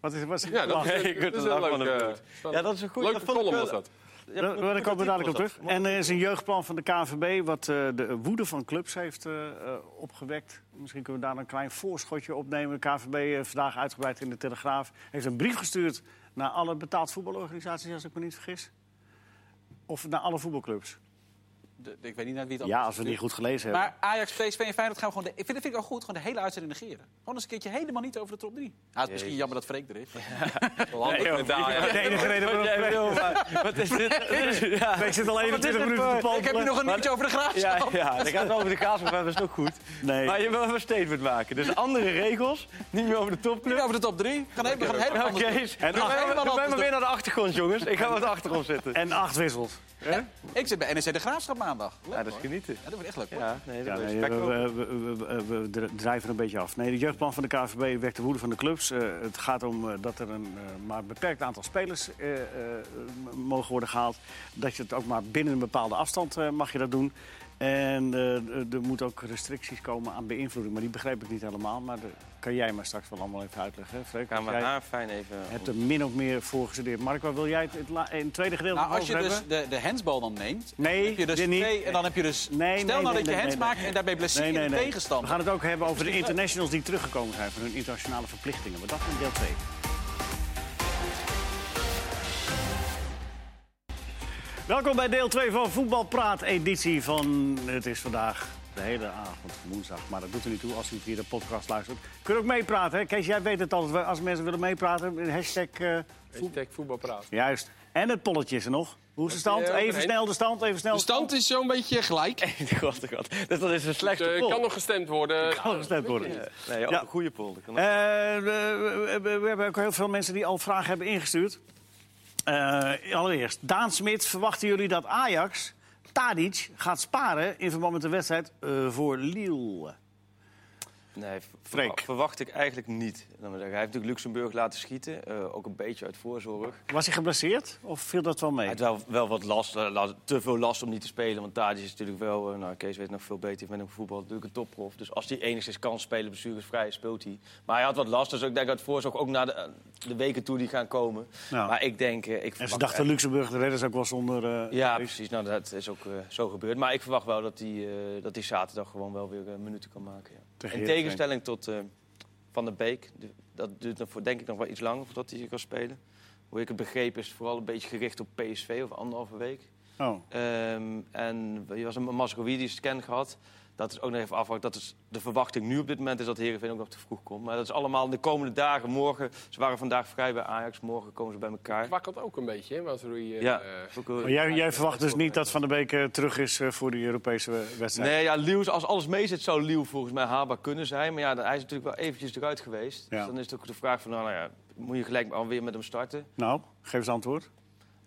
[SPEAKER 1] Wat is, wat is
[SPEAKER 3] Ja, dat,
[SPEAKER 1] Wacht.
[SPEAKER 2] Nee, ik
[SPEAKER 3] ik
[SPEAKER 2] word
[SPEAKER 3] dat is
[SPEAKER 2] er
[SPEAKER 3] een
[SPEAKER 2] lach van
[SPEAKER 3] leuke,
[SPEAKER 2] het Ja, dat is een goede.
[SPEAKER 3] leuke column was dat.
[SPEAKER 1] Ja, Daar daar komen we dadelijk op terug. En er is een jeugdplan van de KNVB wat eh, de woede van clubs heeft eh, eh, opgewekt. Misschien kunnen we daar een klein voorschotje opnemen. De KNVB eh, vandaag uitgebreid in de Telegraaf heeft een brief gestuurd naar alle betaald voetbalorganisaties, als ik me niet vergis. Of naar alle voetbalclubs.
[SPEAKER 4] De- Ik weet niet naar wie het
[SPEAKER 1] Ja,
[SPEAKER 4] allemaal
[SPEAKER 1] als we het niet goed gelezen hebben.
[SPEAKER 4] Maar Ajax, PSV en Feyenoord gaan we gewoon... De, ik vind, dat vind ik al goed, gewoon de hele uitzending negeren. Gewoon eens een keertje helemaal niet over de top 3. Ja, het is misschien jammer dat Freek er is. Wel handig.
[SPEAKER 1] de enige reden waarom
[SPEAKER 2] Jij wil, maar wat is dit? Ja,
[SPEAKER 1] ik zit al 21
[SPEAKER 2] dit
[SPEAKER 1] minuten te
[SPEAKER 2] voor-
[SPEAKER 1] popelen.
[SPEAKER 4] Ik heb hier nog een nieuwtje over de graafschap.
[SPEAKER 2] ja, ja, dat gaat over de kaas, maar dat is ook goed.
[SPEAKER 1] Nee.
[SPEAKER 2] Maar je wil even een statement maken. Dus andere regels, niet meer over de
[SPEAKER 4] Niet
[SPEAKER 2] topclub. dus
[SPEAKER 4] over de top 3. Gaan even, we gaan helemaal
[SPEAKER 2] Ja,
[SPEAKER 4] anders doen.
[SPEAKER 2] Kees, en
[SPEAKER 4] Doe mij maar
[SPEAKER 2] doe mij maar
[SPEAKER 4] anders.
[SPEAKER 2] weer naar de achtergrond, jongens. Ik ga wat achtergrond zitten.
[SPEAKER 1] En acht wissels.
[SPEAKER 4] Ik zit bij NEC de graafschap maandag. Leuk,
[SPEAKER 2] Ja, dat is
[SPEAKER 4] hoor.
[SPEAKER 2] genieten.
[SPEAKER 4] Ja, dat wordt echt leuk. hoor.
[SPEAKER 2] Ja, nee,
[SPEAKER 1] Ja,
[SPEAKER 2] dat is
[SPEAKER 1] nee, we, we, we- we- we dri- drijven een beetje af. Nee, de jeugdplan van de KVB wekt de woede van de clubs. Eh, het gaat om eh, dat er een eh, maar beperkt aantal spelers eh, eh, m- mogen worden gehaald. Dat je het ook maar binnen een bepaalde afstand eh, mag je dat doen. En eh, er moeten ook restricties komen aan beïnvloeding. Maar die begrijp ik niet helemaal. Maar dat kan jij maar straks wel allemaal even uitleggen. hè, Freek,
[SPEAKER 2] Gaan we
[SPEAKER 1] want jij
[SPEAKER 2] haar fijn even...
[SPEAKER 1] hebt er min of meer voor gestudeerd. Mark, waar wil jij het, het la- in het tweede gedeelte
[SPEAKER 4] Nou,
[SPEAKER 1] nog
[SPEAKER 4] als je
[SPEAKER 1] over
[SPEAKER 4] dus
[SPEAKER 1] hebben?
[SPEAKER 4] de, de handsbal dan neemt,
[SPEAKER 1] Nee,
[SPEAKER 4] heb je dus
[SPEAKER 1] dit niet.
[SPEAKER 4] twee, en dan heb je dus...
[SPEAKER 1] Nee,
[SPEAKER 4] stel
[SPEAKER 1] nee,
[SPEAKER 4] nou
[SPEAKER 1] nee,
[SPEAKER 4] dat je
[SPEAKER 1] nee,
[SPEAKER 4] hands
[SPEAKER 1] nee,
[SPEAKER 4] maakt
[SPEAKER 1] nee.
[SPEAKER 4] en daarbij blesseer
[SPEAKER 1] Nee, nee,
[SPEAKER 4] de
[SPEAKER 1] nee. We
[SPEAKER 4] tegenstander.
[SPEAKER 1] gaan het ook hebben over de internationals die teruggekomen zijn van hun internationale verplichtingen. Maar dat in deel 2. Welkom bij deel 2 van Voetbalpraat, editie van... Het is vandaag de hele avond woensdag, maar dat doet er niet toe als u via de podcast luistert. Kun je ook meepraten, hè? Kees, jij weet het altijd. Als mensen willen meepraten, een hashtag... eh,
[SPEAKER 3] Hashtag voetbalpraat.
[SPEAKER 1] juist. En het polletje is er nog. Hoe is de stand?
[SPEAKER 3] Ja,
[SPEAKER 1] Even
[SPEAKER 3] overeen.
[SPEAKER 1] snel de stand, even snel
[SPEAKER 7] De stand is zo'n beetje gelijk.
[SPEAKER 1] eh,
[SPEAKER 2] God, oh god. Dus dat is een
[SPEAKER 3] Dus, eh,
[SPEAKER 2] slechte
[SPEAKER 3] kan
[SPEAKER 2] pol.
[SPEAKER 3] nog gestemd worden.
[SPEAKER 1] Kan gestemd worden.
[SPEAKER 2] Nee, ook
[SPEAKER 1] Ja.
[SPEAKER 2] een goede pol. Dat kan ook.
[SPEAKER 1] Eh, we, we- we hebben ook heel veel mensen die al vragen hebben ingestuurd. Eh, allereerst, Daan Smit, verwachten jullie dat Ajax Tadic gaat sparen in verband met de wedstrijd eh, voor Lille?
[SPEAKER 2] Nee, v-
[SPEAKER 1] Freek.
[SPEAKER 2] verwacht ik eigenlijk niet. Dan moet ik zeggen, Hij heeft natuurlijk Luxemburg laten schieten. eh, ook een beetje uit voorzorg.
[SPEAKER 1] Was hij geblesseerd of viel dat wel mee?
[SPEAKER 2] Hij had wel, wel wat last, eh, la- te veel last om niet te spelen. Want Tadic is natuurlijk wel, eh, nou, Kees weet nog veel beter, heeft met hem voetbal natuurlijk een topprof. Dus als hij enigszins kan spelen, bestuursvrij, speelt hij. Maar hij had wat last, dus ik denk dat voorzorg ook naar de, eh, de weken toe die gaan komen.
[SPEAKER 1] Ja.
[SPEAKER 2] Maar ik denk... eh, Ik
[SPEAKER 1] Nou, En ze
[SPEAKER 2] verwacht
[SPEAKER 1] dachten Luxemburg, de redders ook wel zonder... eh,
[SPEAKER 2] Ja,
[SPEAKER 1] Tadic.
[SPEAKER 2] precies. Nou, dat is ook eh, zo gebeurd. Maar ik verwacht wel dat hij eh, dat hij zaterdag gewoon wel weer eh, minuten kan maken. Ja.
[SPEAKER 1] Tegen
[SPEAKER 2] In
[SPEAKER 1] Heerenveen.
[SPEAKER 2] tegenstelling tot eh, Van der Beek. De- dat duurt nog voor, denk ik nog wel iets langer voordat hij kan spelen. Hoe ik het begreep is het vooral een beetje gericht op PSV of anderhalve week.
[SPEAKER 1] Oh.
[SPEAKER 2] Ehm, en je was een Mascovi die scan gehad. Dat is ook nog even afwachten. Dat is de verwachting nu op dit moment is dat Heerenveen ook nog te vroeg komt. Maar dat is allemaal in de komende dagen. Morgen, ze waren vandaag vrij bij Ajax. Morgen komen ze bij elkaar.
[SPEAKER 3] Wakkelt ook een beetje, hè, Mazrui. eh,
[SPEAKER 2] Ja,
[SPEAKER 3] eh,
[SPEAKER 2] ook, eh,
[SPEAKER 1] Maar jij, jij verwacht dus niet dat Van der Beek eh, terug is eh, voor die Europese eh, wedstrijd?
[SPEAKER 2] Nee, ja, Lieuws, als alles mee zit, zou Lieuw volgens mij haalbaar kunnen zijn. Maar ja, dan- hij is natuurlijk wel eventjes eruit geweest.
[SPEAKER 1] Ja.
[SPEAKER 2] Dus dan is het ook de vraag van, nou, nou ja, moet je gelijk maar alweer met hem starten?
[SPEAKER 1] Nou, geef eens antwoord.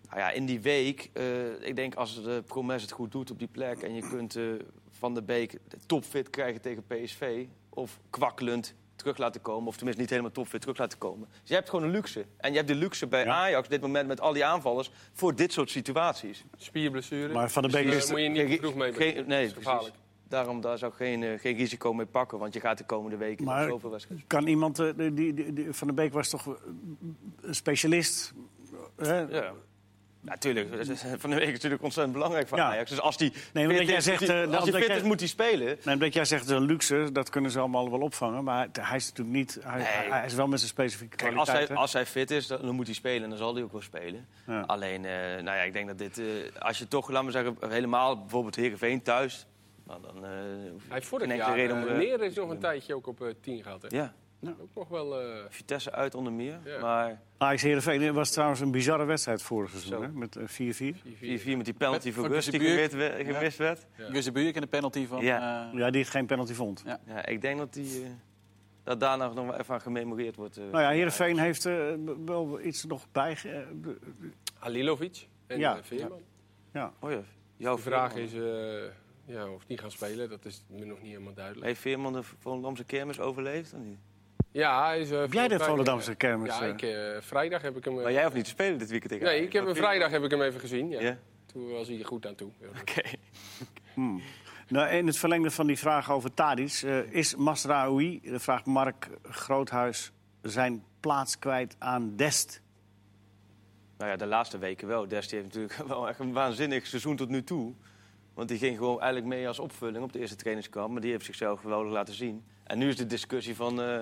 [SPEAKER 2] Nou ja, in die week, eh, ik denk als de Promes het goed doet op die plek... en je kunt eh, Van der Beek topfit krijgen tegen PSV... of kwakkelend terug laten komen, of tenminste niet helemaal topfit terug laten komen. Dus je hebt gewoon een luxe. En je hebt de luxe bij
[SPEAKER 1] Ja.
[SPEAKER 2] Ajax op dit moment met al die aanvallers... voor dit soort situaties.
[SPEAKER 3] Spierblessure.
[SPEAKER 1] Maar Van der Beek
[SPEAKER 3] Dus, eh,
[SPEAKER 1] is-
[SPEAKER 3] moet je niet te vroeg mee.
[SPEAKER 2] Geen- nee,
[SPEAKER 3] is gevaarlijk.
[SPEAKER 2] precies. Daarom daar zou ik geen, eh, geen risico mee pakken, want je gaat de komende weken
[SPEAKER 1] Maar-
[SPEAKER 2] zoveel wedstrijden.
[SPEAKER 1] Kan iemand... eh, die, die, die- Van der Beek was toch eh, een specialist? hè?
[SPEAKER 2] Ja. Natuurlijk, dat is- Van de Week is natuurlijk ontzettend belangrijk voor
[SPEAKER 1] Ja.
[SPEAKER 2] Ajax. Dus als die
[SPEAKER 1] Nee,
[SPEAKER 2] fit
[SPEAKER 1] omdat jij
[SPEAKER 2] is,
[SPEAKER 1] zegt,
[SPEAKER 2] die-
[SPEAKER 1] eh,
[SPEAKER 2] als die
[SPEAKER 1] omdat
[SPEAKER 2] fit
[SPEAKER 1] jij-
[SPEAKER 2] is, moet hij spelen.
[SPEAKER 1] Nee, omdat jij zegt het is een luxe, dat kunnen ze allemaal wel opvangen. Maar het- hij is natuurlijk niet. Hij,
[SPEAKER 2] Nee.
[SPEAKER 1] hij is wel met zijn specifieke
[SPEAKER 2] Kijk, als hij,
[SPEAKER 1] kwaliteiten.
[SPEAKER 2] als hij fit is, dan dan moet hij spelen. En dan zal hij ook wel spelen.
[SPEAKER 1] Ja.
[SPEAKER 2] Alleen, eh, nou ja, ik denk dat dit... eh, als je toch, laten we zeggen, helemaal bijvoorbeeld Heerenveen thuis... Nou, dan eh, hoef je
[SPEAKER 3] Hij heeft vorig
[SPEAKER 2] geen enkele
[SPEAKER 3] jaar
[SPEAKER 2] reden om...
[SPEAKER 3] eh,
[SPEAKER 2] eh,
[SPEAKER 3] Neres nog een tijdje ook op eh, 10 gehad. Hè?
[SPEAKER 2] ja,
[SPEAKER 3] Ook nog wel... eh,
[SPEAKER 2] Vitesse uit onder meer.
[SPEAKER 3] Ja.
[SPEAKER 2] Maar
[SPEAKER 1] Ajax Heerenveen was trouwens een bizarre wedstrijd vorig seizoen,
[SPEAKER 2] Zo.
[SPEAKER 1] hè? met eh, 4-4.
[SPEAKER 2] 4-4 met die penalty
[SPEAKER 4] Met-
[SPEAKER 2] voor
[SPEAKER 4] voor
[SPEAKER 2] Gus die
[SPEAKER 4] Kiezenbuurk.
[SPEAKER 2] gemist we- gemist werd.
[SPEAKER 4] Ja. Buurk in de penalty van...
[SPEAKER 2] Ja.
[SPEAKER 4] eh,
[SPEAKER 1] Ja, die geen penalty vond.
[SPEAKER 2] Ja, ik denk dat, die, eh, dat daar nog wel even aan gememoreerd wordt. eh.
[SPEAKER 1] Nou ja, Heerenveen heeft eh, b- wel iets nog bij. eh, b-
[SPEAKER 3] Halilovic en
[SPEAKER 1] Ja.
[SPEAKER 3] eh, Veerman.
[SPEAKER 2] Oh ja, jouw
[SPEAKER 3] De vraag
[SPEAKER 2] Veerman.
[SPEAKER 3] is eh, ja, of die gaan spelen. Dat is me nog niet helemaal duidelijk.
[SPEAKER 2] Heeft Veerman de Volendamse kermis overleefd of niet?
[SPEAKER 3] Ja, hij is... eh,
[SPEAKER 1] Heb jij de
[SPEAKER 3] vrijdag-
[SPEAKER 1] Volendamse kermis?
[SPEAKER 3] Ja,
[SPEAKER 1] eh?
[SPEAKER 3] ik, eh, vrijdag heb ik hem... eh,
[SPEAKER 2] Maar jij hoeft niet te spelen dit weekend tegen
[SPEAKER 3] Nee,
[SPEAKER 2] Ajax.
[SPEAKER 3] ik heb hem
[SPEAKER 2] Dat
[SPEAKER 3] vrijdag heb ik hem even gezien. Ja.
[SPEAKER 2] Veerman- Ja?
[SPEAKER 3] Toen was hij er goed aan toe. Ja.
[SPEAKER 2] Oké.
[SPEAKER 1] Nou, in het verlengde van die vraag over Tadic. eh, is Masraoui, eh, vraagt Mark Groothuis, zijn plaats kwijt aan Dest?
[SPEAKER 2] Nou ja, de laatste weken wel. Desti heeft natuurlijk wel echt een waanzinnig seizoen tot nu toe. Want die ging gewoon eigenlijk mee als opvulling op de eerste trainingskamp. Maar die heeft zichzelf geweldig laten zien. En nu is de discussie van... eh,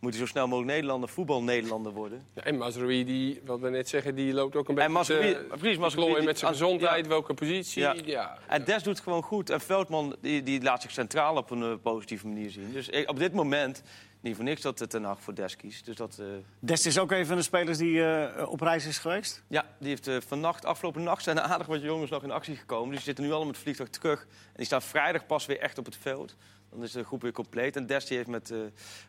[SPEAKER 2] moet hij zo snel mogelijk Nederlander, voetbal-Nederlander worden?
[SPEAKER 3] Ja, en Mazraoui, die, wat we net zeggen, die loopt ook een beetje...
[SPEAKER 2] En Mazraoui-
[SPEAKER 3] te-
[SPEAKER 2] precies,
[SPEAKER 3] te
[SPEAKER 2] Mazraoui
[SPEAKER 3] klooien
[SPEAKER 2] die-
[SPEAKER 3] met zijn
[SPEAKER 2] als-
[SPEAKER 3] gezondheid, welke positie.
[SPEAKER 2] Ja.
[SPEAKER 3] Ja. Ja.
[SPEAKER 2] En Des doet het gewoon goed. En Veldman die, die laat zich centraal op een eh, positieve manier zien. Dus ik- op dit moment, niet voor niks dat het Ten Hag voor Des kiest. Dus dat... eh,
[SPEAKER 1] Dest is ook een van de spelers die eh, op reis is geweest.
[SPEAKER 2] Ja, die heeft eh, vannacht, afgelopen nacht zijn er aardig wat jongens nog in actie gekomen. Dus die zitten nu allemaal met het vliegtuig terug. En die staan vrijdag pas weer echt op het veld. Dan is de groep weer compleet. En Desti heeft met eh,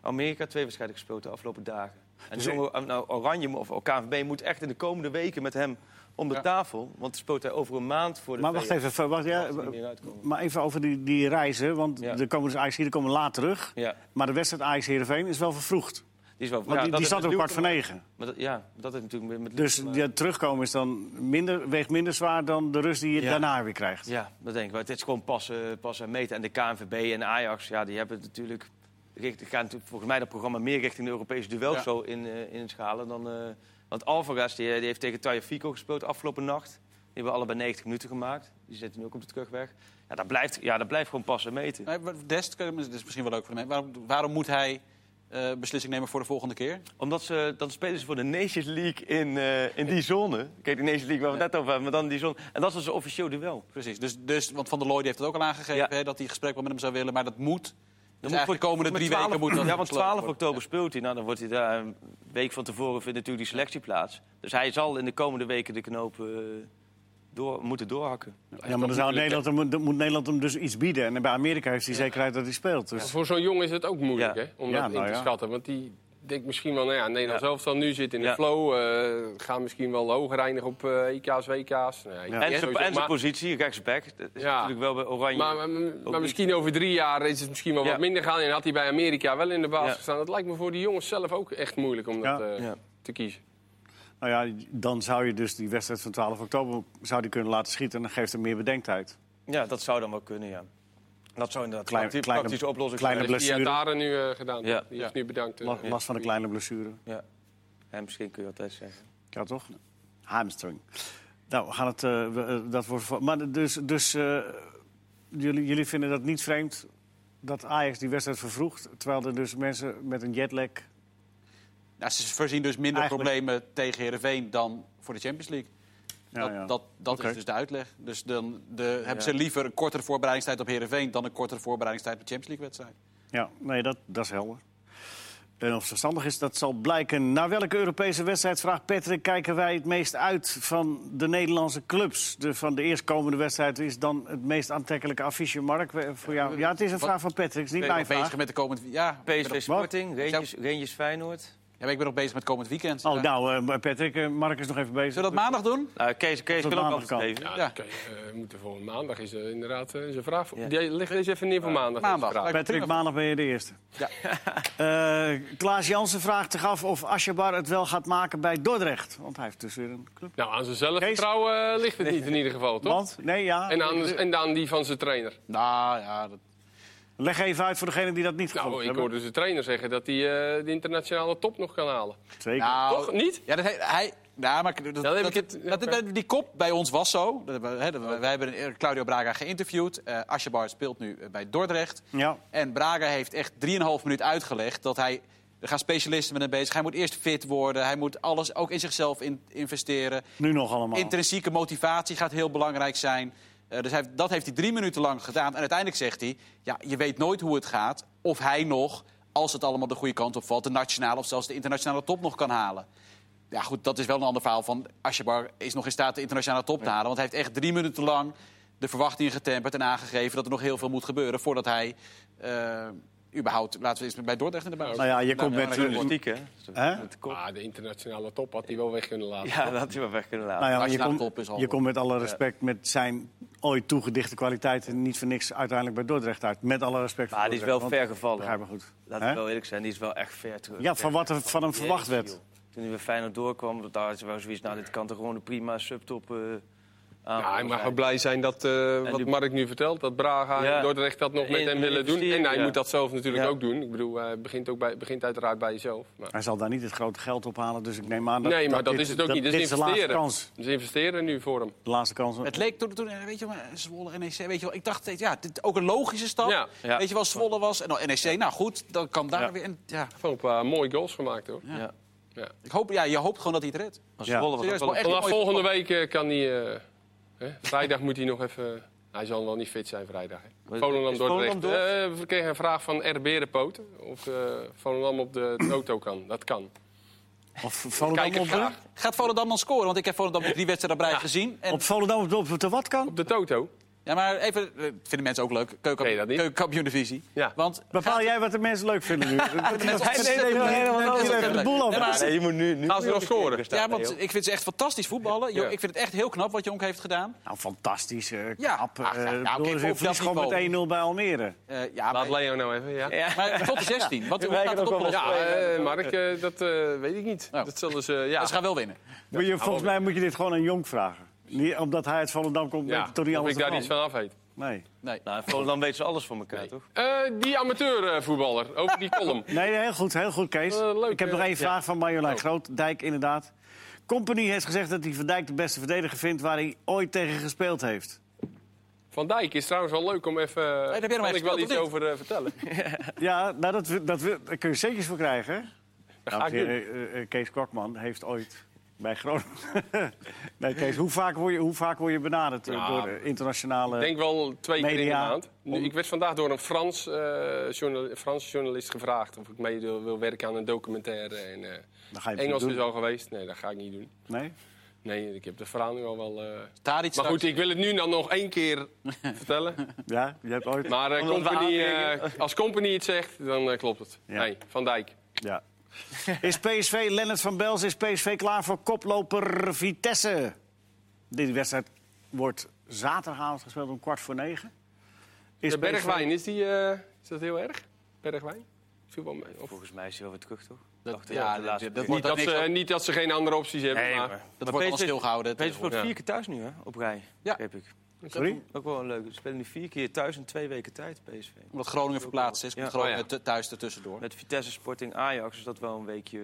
[SPEAKER 2] Amerika twee wedstrijden gespeeld de afgelopen dagen. En
[SPEAKER 1] Dus
[SPEAKER 2] dus nou, Oranje mo- of KNVB moet echt in de komende weken met hem om de tafel. Want speelt hij over een maand voor de
[SPEAKER 1] Maar wacht
[SPEAKER 2] VS.
[SPEAKER 1] even, ver- wacht, ja,
[SPEAKER 2] Als hij er meer uitkomt.
[SPEAKER 1] maar even over die, die reizen. Want
[SPEAKER 2] Ja.
[SPEAKER 1] er komen dus Ajax hier, komen we laat terug.
[SPEAKER 2] Ja,
[SPEAKER 1] Maar de wedstrijd Ajax Heerenveen is wel vervroegd.
[SPEAKER 2] die is wel...
[SPEAKER 1] Want
[SPEAKER 2] ja,
[SPEAKER 1] die,
[SPEAKER 2] dat
[SPEAKER 1] die
[SPEAKER 2] is
[SPEAKER 1] staat er op
[SPEAKER 2] natuurlijk-
[SPEAKER 1] kwart voor negen.
[SPEAKER 2] Maar dat, ja, dat is natuurlijk... weer Met
[SPEAKER 1] Dus
[SPEAKER 2] maar-
[SPEAKER 1] ja, terugkomen is dan minder, weegt minder zwaar dan de rust die je
[SPEAKER 2] Ja.
[SPEAKER 1] daarna weer krijgt.
[SPEAKER 2] Ja, dat denk ik wel. Het is gewoon passen, passen en meten. En de KNVB en Ajax, ja, die hebben het natuurlijk... richt- gaan natuurlijk volgens mij dat programma meer richting de Europese duel
[SPEAKER 4] Ja.
[SPEAKER 2] zo in, eh, in het schalen. Dan, eh, want Alvarez die, eh, die heeft tegen Tajafico gespeeld afgelopen nacht. Die hebben allebei 90 minuten gemaakt. Die zitten nu ook op de terugweg. Ja, dat blijft, ja, dat blijft gewoon passen en meten.
[SPEAKER 4] nee, maar Dest, dat is misschien wel leuk voor hem. Waarom, waarom moet hij eh, beslissing nemen voor de volgende keer?
[SPEAKER 2] Omdat ze, dan spelen ze voor de Nations League in, eh, in die zone. Kijk, de Nations League waar we het net over hebben, maar dan die zone. En dat is dus een officieel duel.
[SPEAKER 4] Precies. Dus, dus, want Van der Looij heeft het ook al aangegeven...
[SPEAKER 2] Ja.
[SPEAKER 4] Hè, dat hij gesprek wel met hem zou willen, maar dat moet... Dus
[SPEAKER 2] moet
[SPEAKER 4] eigenlijk de komende
[SPEAKER 2] Met
[SPEAKER 4] drie
[SPEAKER 2] 12
[SPEAKER 4] weken moet dat
[SPEAKER 2] Ja, want
[SPEAKER 4] besloten
[SPEAKER 2] 12
[SPEAKER 4] worden.
[SPEAKER 2] oktober speelt hij. Nou, dan wordt hij daar een week van tevoren vindt natuurlijk die selectie plaats. Dus hij zal in de komende weken de knoop eh, door, moeten doorhakken.
[SPEAKER 1] Ja, maar dan zou Nederland, hem- dan moet Nederland hem dus iets bieden. En bij Amerika heeft hij zekerheid dat hij speelt.
[SPEAKER 3] Maar
[SPEAKER 1] Dus
[SPEAKER 3] Voor zo'n jongen is het ook moeilijk
[SPEAKER 2] Ja.
[SPEAKER 3] hè, om
[SPEAKER 1] Ja,
[SPEAKER 3] dat
[SPEAKER 1] nou
[SPEAKER 3] in te
[SPEAKER 1] ja.
[SPEAKER 3] schatten. Want die denkt misschien wel, nou ja, Nederland
[SPEAKER 2] Ja.
[SPEAKER 3] zelf zal nu zitten in
[SPEAKER 2] Ja.
[SPEAKER 3] de flow. eh gaan misschien wel hoger eindigen op eh EK's, WK's. Nou, ja, ik
[SPEAKER 1] Ja.
[SPEAKER 3] denk
[SPEAKER 2] En zijn,
[SPEAKER 3] sowieso,
[SPEAKER 2] en zijn
[SPEAKER 3] maar-
[SPEAKER 2] positie, rechtsback. Dat is
[SPEAKER 3] Ja.
[SPEAKER 2] natuurlijk wel bij Oranje.
[SPEAKER 3] maar, maar, maar
[SPEAKER 2] niet.
[SPEAKER 3] misschien over drie jaar is het misschien wel
[SPEAKER 2] Ja.
[SPEAKER 3] wat minder gaan. En had hij bij Amerika wel in de basis
[SPEAKER 2] Ja.
[SPEAKER 3] gestaan. Dat lijkt me voor die jongens zelf ook echt moeilijk om
[SPEAKER 1] Ja.
[SPEAKER 3] dat eh,
[SPEAKER 2] Ja.
[SPEAKER 3] te kiezen.
[SPEAKER 1] nou ja, dan zou je dus die wedstrijd van 12 oktober zou die kunnen laten schieten. En dan geeft hem meer bedenktijd.
[SPEAKER 2] Ja, dat zou dan wel kunnen, ja. Dat zou inderdaad
[SPEAKER 1] Klein-
[SPEAKER 2] een prakti-
[SPEAKER 1] kleine-
[SPEAKER 2] praktische oplossing
[SPEAKER 1] kleine
[SPEAKER 2] zijn.
[SPEAKER 1] bl-
[SPEAKER 3] Die
[SPEAKER 1] blessure.
[SPEAKER 3] heeft Daren nu eh, gedaan.
[SPEAKER 2] Ja.
[SPEAKER 3] Die heeft nu bedankt. eh.
[SPEAKER 1] La- Last van een kleine blessure.
[SPEAKER 2] Ja, misschien kun je altijd zeggen.
[SPEAKER 1] Ja, toch? Hamstring. Nou, we gaan het. eh, we, eh, dat wordt. voor- Maar dus. dus eh, jullie, jullie vinden dat niet vreemd dat Ajax die wedstrijd vervroegt. Terwijl er dus mensen met een jetlag.
[SPEAKER 4] Ja, ze voorzien dus minder
[SPEAKER 1] Eigenlijk-
[SPEAKER 4] problemen tegen Heerenveen dan voor de Champions League.
[SPEAKER 1] Ja,
[SPEAKER 4] dat
[SPEAKER 1] ja.
[SPEAKER 4] dat, dat
[SPEAKER 1] Oké.
[SPEAKER 4] is dus de uitleg. Dus dan de, hebben ze liever een kortere voorbereidingstijd op Heerenveen... dan een kortere voorbereidingstijd op de Champions League-wedstrijd.
[SPEAKER 1] Ja, nee, dat, dat is helder. En of het verstandig is, dat zal blijken. Naar welke Europese wedstrijd, vraagt Patrick, kijken wij het meest uit van de Nederlandse clubs? De, van de eerstkomende wedstrijd is dan het meest aantrekkelijke affiche, Mark, we- voor jou. Ja, het is een
[SPEAKER 4] Wat-
[SPEAKER 1] vraag van Patrick, het is niet
[SPEAKER 4] Ik ben
[SPEAKER 1] mijn
[SPEAKER 4] nog
[SPEAKER 1] vraag.
[SPEAKER 4] bezig met de komend... Ja, ik ben nog-
[SPEAKER 2] PSV Sporting, Rangers, Rangers Feyenoord.
[SPEAKER 4] ja, maar ik ben nog bezig met komend weekend.
[SPEAKER 1] Oh,
[SPEAKER 4] Ja.
[SPEAKER 1] nou, eh, Patrick, eh, Mark is nog even bezig.
[SPEAKER 4] Zullen we dat maandag doen?
[SPEAKER 2] Nou, Kees, Kees
[SPEAKER 1] Tot
[SPEAKER 2] kan ook
[SPEAKER 1] maandag
[SPEAKER 2] altijd
[SPEAKER 1] kan.
[SPEAKER 2] even.
[SPEAKER 3] Ja,
[SPEAKER 4] Ja.
[SPEAKER 3] oké, eh, we moeten voor maandag is eh, inderdaad eh, is een vraag. voor-
[SPEAKER 2] Ja.
[SPEAKER 3] Die, leg eens even neer voor maandag.
[SPEAKER 4] Eh, maandag.
[SPEAKER 3] is de vraag.
[SPEAKER 4] Lijkt me
[SPEAKER 1] Patrick,
[SPEAKER 4] prima.
[SPEAKER 1] maandag ben je de eerste.
[SPEAKER 4] Ja.
[SPEAKER 1] Eh, Klaas Jansen vraagt zich af of Asjabar het wel gaat maken bij Dordrecht. Want hij heeft dus weer een club.
[SPEAKER 3] Nou, aan zijn zelfvertrouwen eh, ligt het niet in ieder geval, toch?
[SPEAKER 1] Want? Nee, ja.
[SPEAKER 3] En nou- aan, en aan die van zijn trainer.
[SPEAKER 4] Nou ja, dat,
[SPEAKER 1] Leg even uit voor degene die dat niet gevonden
[SPEAKER 3] Nou, ik
[SPEAKER 1] hebben.
[SPEAKER 3] hoorde zijn trainer zeggen dat hij eh, de internationale top nog kan halen.
[SPEAKER 1] Zeker.
[SPEAKER 4] nou,
[SPEAKER 3] Toch? Niet?
[SPEAKER 4] Ja, dat, he- hij, Nou, maar dat,
[SPEAKER 3] Dan heb
[SPEAKER 4] dat-
[SPEAKER 3] ik het-
[SPEAKER 4] dat- dat- die kop bij ons was zo. Dat hebben we- hè, dat we, wij hebben eh, Claudio Braga geïnterviewd. Eh Asjebar speelt nu eh, bij Dordrecht.
[SPEAKER 1] Ja.
[SPEAKER 4] En Braga heeft echt 3,5 minuut uitgelegd dat hij. Er gaan specialisten met hem bezig. Hij moet eerst fit worden. Hij moet alles ook in zichzelf in- investeren.
[SPEAKER 1] Nu nog allemaal.
[SPEAKER 4] Intrinsieke motivatie gaat heel belangrijk zijn. Eh, dus hij, heeft- dat heeft hij drie minuten lang gedaan. En uiteindelijk zegt hij: ja, je weet nooit hoe het gaat. Of hij nog, als het allemaal de goede kant op valt, de nationale of zelfs de internationale top nog kan halen. Ja, goed, dat is wel een ander verhaal van Asjebar is nog in staat de internationale top te halen. Want hij heeft echt drie minuten lang de verwachtingen getemperd en aangegeven dat er nog heel veel moet gebeuren voordat hij. eh, überhaupt, laten we eens bij Dordrecht in de baan.
[SPEAKER 1] Nou ja, je komt met...
[SPEAKER 2] dat is
[SPEAKER 1] eh,
[SPEAKER 2] politiek, hè?
[SPEAKER 1] Hè?
[SPEAKER 2] Met de kop.
[SPEAKER 7] Ah, de internationale top had hij wel weg kunnen laten.
[SPEAKER 2] Ja, dat had hij wel weg kunnen laten.
[SPEAKER 1] Nou ja, maar je
[SPEAKER 4] Nationale top is
[SPEAKER 1] komt
[SPEAKER 4] al-
[SPEAKER 1] je komt met alle respect met zijn ooit toegedichte kwaliteiten niet voor niks uiteindelijk bij Dordrecht uit. Met alle respect voor
[SPEAKER 2] Maar die is wel
[SPEAKER 1] Dordrecht,
[SPEAKER 2] ver
[SPEAKER 1] want- Begrijp
[SPEAKER 2] gevallen.
[SPEAKER 1] me goed.
[SPEAKER 2] Laat
[SPEAKER 1] Hè?
[SPEAKER 2] ik wel eerlijk zijn, die is wel echt ver terug.
[SPEAKER 1] Ja, van wat er van hem verwacht
[SPEAKER 2] Jezus,
[SPEAKER 1] werd.
[SPEAKER 2] joh. Toen hij weer Feyenoord doorkwam, dat daar had ze wel zoiets... Nou, dit kan toch gewoon een prima subtop eh aan
[SPEAKER 3] Ja, hij
[SPEAKER 2] zijn.
[SPEAKER 3] mag wel blij zijn dat eh, wat
[SPEAKER 2] die-
[SPEAKER 3] Mark nu vertelt, dat Braga
[SPEAKER 2] Ja.
[SPEAKER 3] en Dordrecht dat nog met
[SPEAKER 2] In-
[SPEAKER 3] hem willen doen.
[SPEAKER 2] investeren,
[SPEAKER 3] En hij
[SPEAKER 2] ja.
[SPEAKER 3] moet dat zelf natuurlijk
[SPEAKER 2] Ja.
[SPEAKER 3] ook doen. Ik bedoel, hij begint, ook bij, begint uiteraard bij jezelf. Maar...
[SPEAKER 1] Hij zal daar niet het grote geld ophalen, dus ik neem aan dat
[SPEAKER 3] nee, maar dat, is het ook niet. Dat is
[SPEAKER 1] dit de laatste
[SPEAKER 3] investeren.
[SPEAKER 1] kans.
[SPEAKER 3] Dus investeren nu voor hem.
[SPEAKER 1] De laatste kans.
[SPEAKER 4] Het leek toen, toen eh, weet je wel, eh, Zwolle, NEC, weet je wel, ik dacht steeds, ja, dit ook een logische stap.
[SPEAKER 3] Ja,
[SPEAKER 2] ja.
[SPEAKER 4] Weet je wel, Zwolle was en dan NEC, nou goed, dan kan daar
[SPEAKER 2] Ja.
[SPEAKER 4] weer. En, ja,
[SPEAKER 3] Van een paar mooie goals gemaakt hoor.
[SPEAKER 2] Ja.
[SPEAKER 4] ik hoop, ja, je hoopt gewoon dat hij het redt.
[SPEAKER 2] Als
[SPEAKER 1] Ja.
[SPEAKER 2] Zwolle was
[SPEAKER 4] Serieus,
[SPEAKER 2] dat wel
[SPEAKER 4] maar
[SPEAKER 2] een-
[SPEAKER 4] echt een
[SPEAKER 3] Vanaf
[SPEAKER 4] mooie
[SPEAKER 3] volgende week eh, kan hij. eh, hè, vrijdag moet hij nog even. Hij zal wel niet fit zijn vrijdag. Hè.
[SPEAKER 2] Is
[SPEAKER 3] Volendam
[SPEAKER 2] Volendam
[SPEAKER 3] Dordrecht.
[SPEAKER 2] door?
[SPEAKER 3] Eh, we kregen een vraag van R. Berenpoot. Of eh Volendam op de auto kan. Dat kan.
[SPEAKER 1] Of Volendam
[SPEAKER 3] Kijk,
[SPEAKER 1] op, de-
[SPEAKER 4] voetbal. Gaat Volendam dan scoren? Want ik heb Volendam drie wedstrijden op rij gezien. En,
[SPEAKER 1] op Volendam op de, op de wat kan?
[SPEAKER 3] Op de Toto.
[SPEAKER 4] ja, maar even, eh, vinden mensen ook leuk, keuken,
[SPEAKER 3] Nee, dat niet.
[SPEAKER 4] keukenkampioen divisie.
[SPEAKER 3] Ja.
[SPEAKER 4] Want
[SPEAKER 1] Bepaal jij wat de mensen leuk vinden nu. Hij
[SPEAKER 4] de mensen
[SPEAKER 1] neemt even-
[SPEAKER 4] ontzettend leuk.
[SPEAKER 1] hij neemt even de boel
[SPEAKER 4] Ja,
[SPEAKER 1] over.
[SPEAKER 4] maar-
[SPEAKER 2] Nee, je moet nu... nu
[SPEAKER 3] Gaan ze nog scoren?
[SPEAKER 4] ja, want ik vind ze echt fantastisch voetballen. Jo,
[SPEAKER 3] Ja.
[SPEAKER 4] Ik vind het echt heel knap wat Jonk heeft gedaan.
[SPEAKER 1] Nou, fantastisch. eh,
[SPEAKER 4] Ja.
[SPEAKER 1] knap.
[SPEAKER 3] Ah,
[SPEAKER 4] Ach, ja,
[SPEAKER 1] eh,
[SPEAKER 4] nou, oké,
[SPEAKER 1] Doris
[SPEAKER 4] op
[SPEAKER 1] heeft
[SPEAKER 4] dat
[SPEAKER 1] verlies gewoon
[SPEAKER 4] niveau.
[SPEAKER 1] met 1-0 bij Almere.
[SPEAKER 4] Eh, ja,
[SPEAKER 3] Laat
[SPEAKER 4] maar,
[SPEAKER 3] Leo nou even. Ja,
[SPEAKER 2] Ja.
[SPEAKER 4] maar tot de 16. Wat, hoe
[SPEAKER 2] Wij
[SPEAKER 4] gaat
[SPEAKER 2] kunnen
[SPEAKER 4] het
[SPEAKER 2] ook wel
[SPEAKER 4] oplossen?
[SPEAKER 3] ja eh, Mark, eh, dat eh, weet ik niet.
[SPEAKER 4] Nou.
[SPEAKER 3] Dat zullen ze. ja.
[SPEAKER 4] Ze gaan wel winnen.
[SPEAKER 1] Moet
[SPEAKER 3] oh.
[SPEAKER 1] je, volgens mij moet je dit gewoon aan Jonk vragen. Niet omdat hij uit Volendam komt,
[SPEAKER 3] Ja,
[SPEAKER 1] weet je toch niet
[SPEAKER 3] of
[SPEAKER 1] anders
[SPEAKER 3] ik daar
[SPEAKER 1] ervan?
[SPEAKER 3] iets van af weet.
[SPEAKER 1] Nee.
[SPEAKER 4] Nee.
[SPEAKER 2] Nou, in Volendam weten ze alles van elkaar, toch?
[SPEAKER 3] Eh, die amateurvoetballer, over die column.
[SPEAKER 1] Nee, heel goed, heel goed, Kees.
[SPEAKER 3] Eh, leuk,
[SPEAKER 1] ik heb
[SPEAKER 3] eh,
[SPEAKER 1] nog één
[SPEAKER 3] ja. Oh.
[SPEAKER 1] vraag van Marjolein Grootdijk, inderdaad. Company heeft gezegd dat hij Van Dijk de beste verdediger vindt waar hij ooit tegen gespeeld heeft.
[SPEAKER 3] Van Dijk is trouwens wel leuk om even.
[SPEAKER 4] heb jij nog
[SPEAKER 3] kan
[SPEAKER 4] even
[SPEAKER 3] ik wel
[SPEAKER 4] gespeeld,
[SPEAKER 3] iets
[SPEAKER 4] of niet?
[SPEAKER 3] over eh, vertellen?
[SPEAKER 1] Ja, nou, dat, wil- dat, wil- daar kun je centjes voor krijgen. hè? Dames en
[SPEAKER 3] ik
[SPEAKER 1] heren, eh, eh, Kees Kwakman heeft ooit bij Groningen... nee, Kees, hoe vaak word je, hoe vaak word je benaderd eh,
[SPEAKER 3] Ja,
[SPEAKER 1] door de internationale...
[SPEAKER 3] Ik denk wel twee keer in de
[SPEAKER 1] media.
[SPEAKER 3] maand. Nu, ik werd vandaag door een Frans, eh journal- Franse journalist gevraagd of ik mee wil, wil werken aan een documentaire. En, eh,
[SPEAKER 1] Dan ga je het
[SPEAKER 3] Engels
[SPEAKER 1] niet
[SPEAKER 3] is
[SPEAKER 1] doen.
[SPEAKER 3] al geweest. Nee, dat ga ik niet doen.
[SPEAKER 1] Nee?
[SPEAKER 3] Nee, ik heb de verhaal nu al wel. eh,
[SPEAKER 4] Daar iets
[SPEAKER 3] Maar goed,
[SPEAKER 4] straks.
[SPEAKER 3] ik wil het nu dan nog één keer vertellen.
[SPEAKER 1] Ja, je hebt ooit...
[SPEAKER 3] Maar eh,
[SPEAKER 2] Omdat we
[SPEAKER 3] company,
[SPEAKER 2] aankijken.
[SPEAKER 3] eh, als Company het zegt, dan eh, klopt het.
[SPEAKER 1] Ja.
[SPEAKER 3] Nee, Van Dijk.
[SPEAKER 1] Ja. Is PSV, Lennart van Bels, is PSV klaar voor koploper Vitesse? Deze wedstrijd wordt zaterdagavond gespeeld om kwart voor negen. Is
[SPEAKER 3] De
[SPEAKER 1] PSV
[SPEAKER 3] Bergwijn, is, die, eh, is dat heel erg? Bergwijn? Viel wel mee. Of...
[SPEAKER 2] Volgens mij is hij wel weer terug, toch?
[SPEAKER 4] Dat-
[SPEAKER 2] Dacht ik
[SPEAKER 4] ja,
[SPEAKER 2] op de
[SPEAKER 4] dat-
[SPEAKER 2] laatste
[SPEAKER 4] dat
[SPEAKER 2] keer.
[SPEAKER 4] wordt-
[SPEAKER 3] Niet dat,
[SPEAKER 4] niks
[SPEAKER 3] ze,
[SPEAKER 4] op.
[SPEAKER 3] niet dat ze geen andere opties hebben,
[SPEAKER 2] Nee,
[SPEAKER 3] maar...
[SPEAKER 2] maar-
[SPEAKER 4] Dat wordt allemaal stilgehouden.
[SPEAKER 2] eh, Peter speelt
[SPEAKER 3] Ja.
[SPEAKER 2] vier keer thuis nu, hè? Op rij.
[SPEAKER 4] Ja.
[SPEAKER 2] Ja. Heb ik.
[SPEAKER 1] Sorry?
[SPEAKER 2] Ook wel een leuke. Ze spelen nu vier keer thuis in twee weken tijd, PSV.
[SPEAKER 4] Omdat Groningen verplaatst is, komt
[SPEAKER 2] Ja.
[SPEAKER 4] Groningen
[SPEAKER 3] Oh,
[SPEAKER 4] thu- thuis ertussendoor.
[SPEAKER 2] Met Vitesse Sporting Ajax is dat wel een weekje...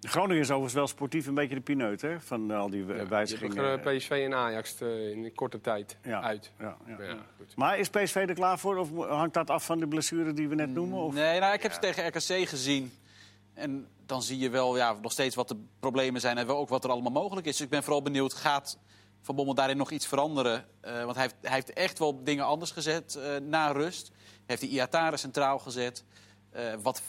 [SPEAKER 2] eh,
[SPEAKER 1] Groningen is overigens wel sportief een beetje de pineut hè, van eh, al die eh,
[SPEAKER 3] Je hebt
[SPEAKER 1] wijzigingen.
[SPEAKER 3] ook, eh, PSV en Ajax eh, in een korte tijd
[SPEAKER 1] Ja.
[SPEAKER 3] uit.
[SPEAKER 1] Ja, ja.
[SPEAKER 3] Ja, goed.
[SPEAKER 1] Maar is PSV er klaar voor of hangt dat af van de blessure die we net noemen? Of?
[SPEAKER 4] Nee, nou, ik heb ze tegen RKC gezien. En dan zie je wel ja, nog steeds wat de problemen zijn en wel ook wat er allemaal mogelijk is. Dus ik ben vooral benieuwd, gaat Van Bommel daarin nog iets veranderen? Eh, want hij heeft, hij heeft echt wel dingen anders gezet eh, na rust. Heeft hij Iatare centraal gezet, eh, wat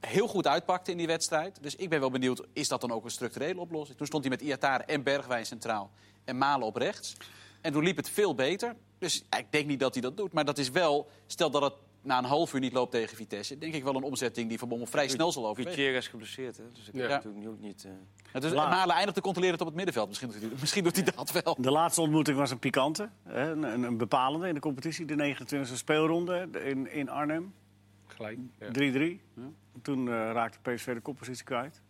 [SPEAKER 4] heel goed uitpakte in die wedstrijd. Dus ik ben wel benieuwd, is dat dan ook een structurele oplossing? Toen stond hij met Iatare en Bergwijn centraal en Malen op rechts. En toen liep het veel beter. Dus ik denk niet dat hij dat doet. Maar dat is wel, stel dat het na een half uur niet loopt tegen Vitesse... denk ik wel een omzetting die Van Bommel vrij snel zal overwegen.
[SPEAKER 2] Gutierrez geblesseerd, hè? Dus ik
[SPEAKER 3] Ja.
[SPEAKER 2] kan natuurlijk ook niet... eh,
[SPEAKER 4] Ja, Dus
[SPEAKER 1] Laag.
[SPEAKER 4] Malen eindigt te controleren op het middenveld. Misschien doet hij, misschien doet hij dat wel.
[SPEAKER 1] De laatste ontmoeting was een pikante, hè, een, een, een bepalende in de competitie. De 29e speelronde in, in Arnhem, 3-3.
[SPEAKER 3] Gelijk. Ja.
[SPEAKER 1] Toen eh, raakte PSV de koppositie kwijt.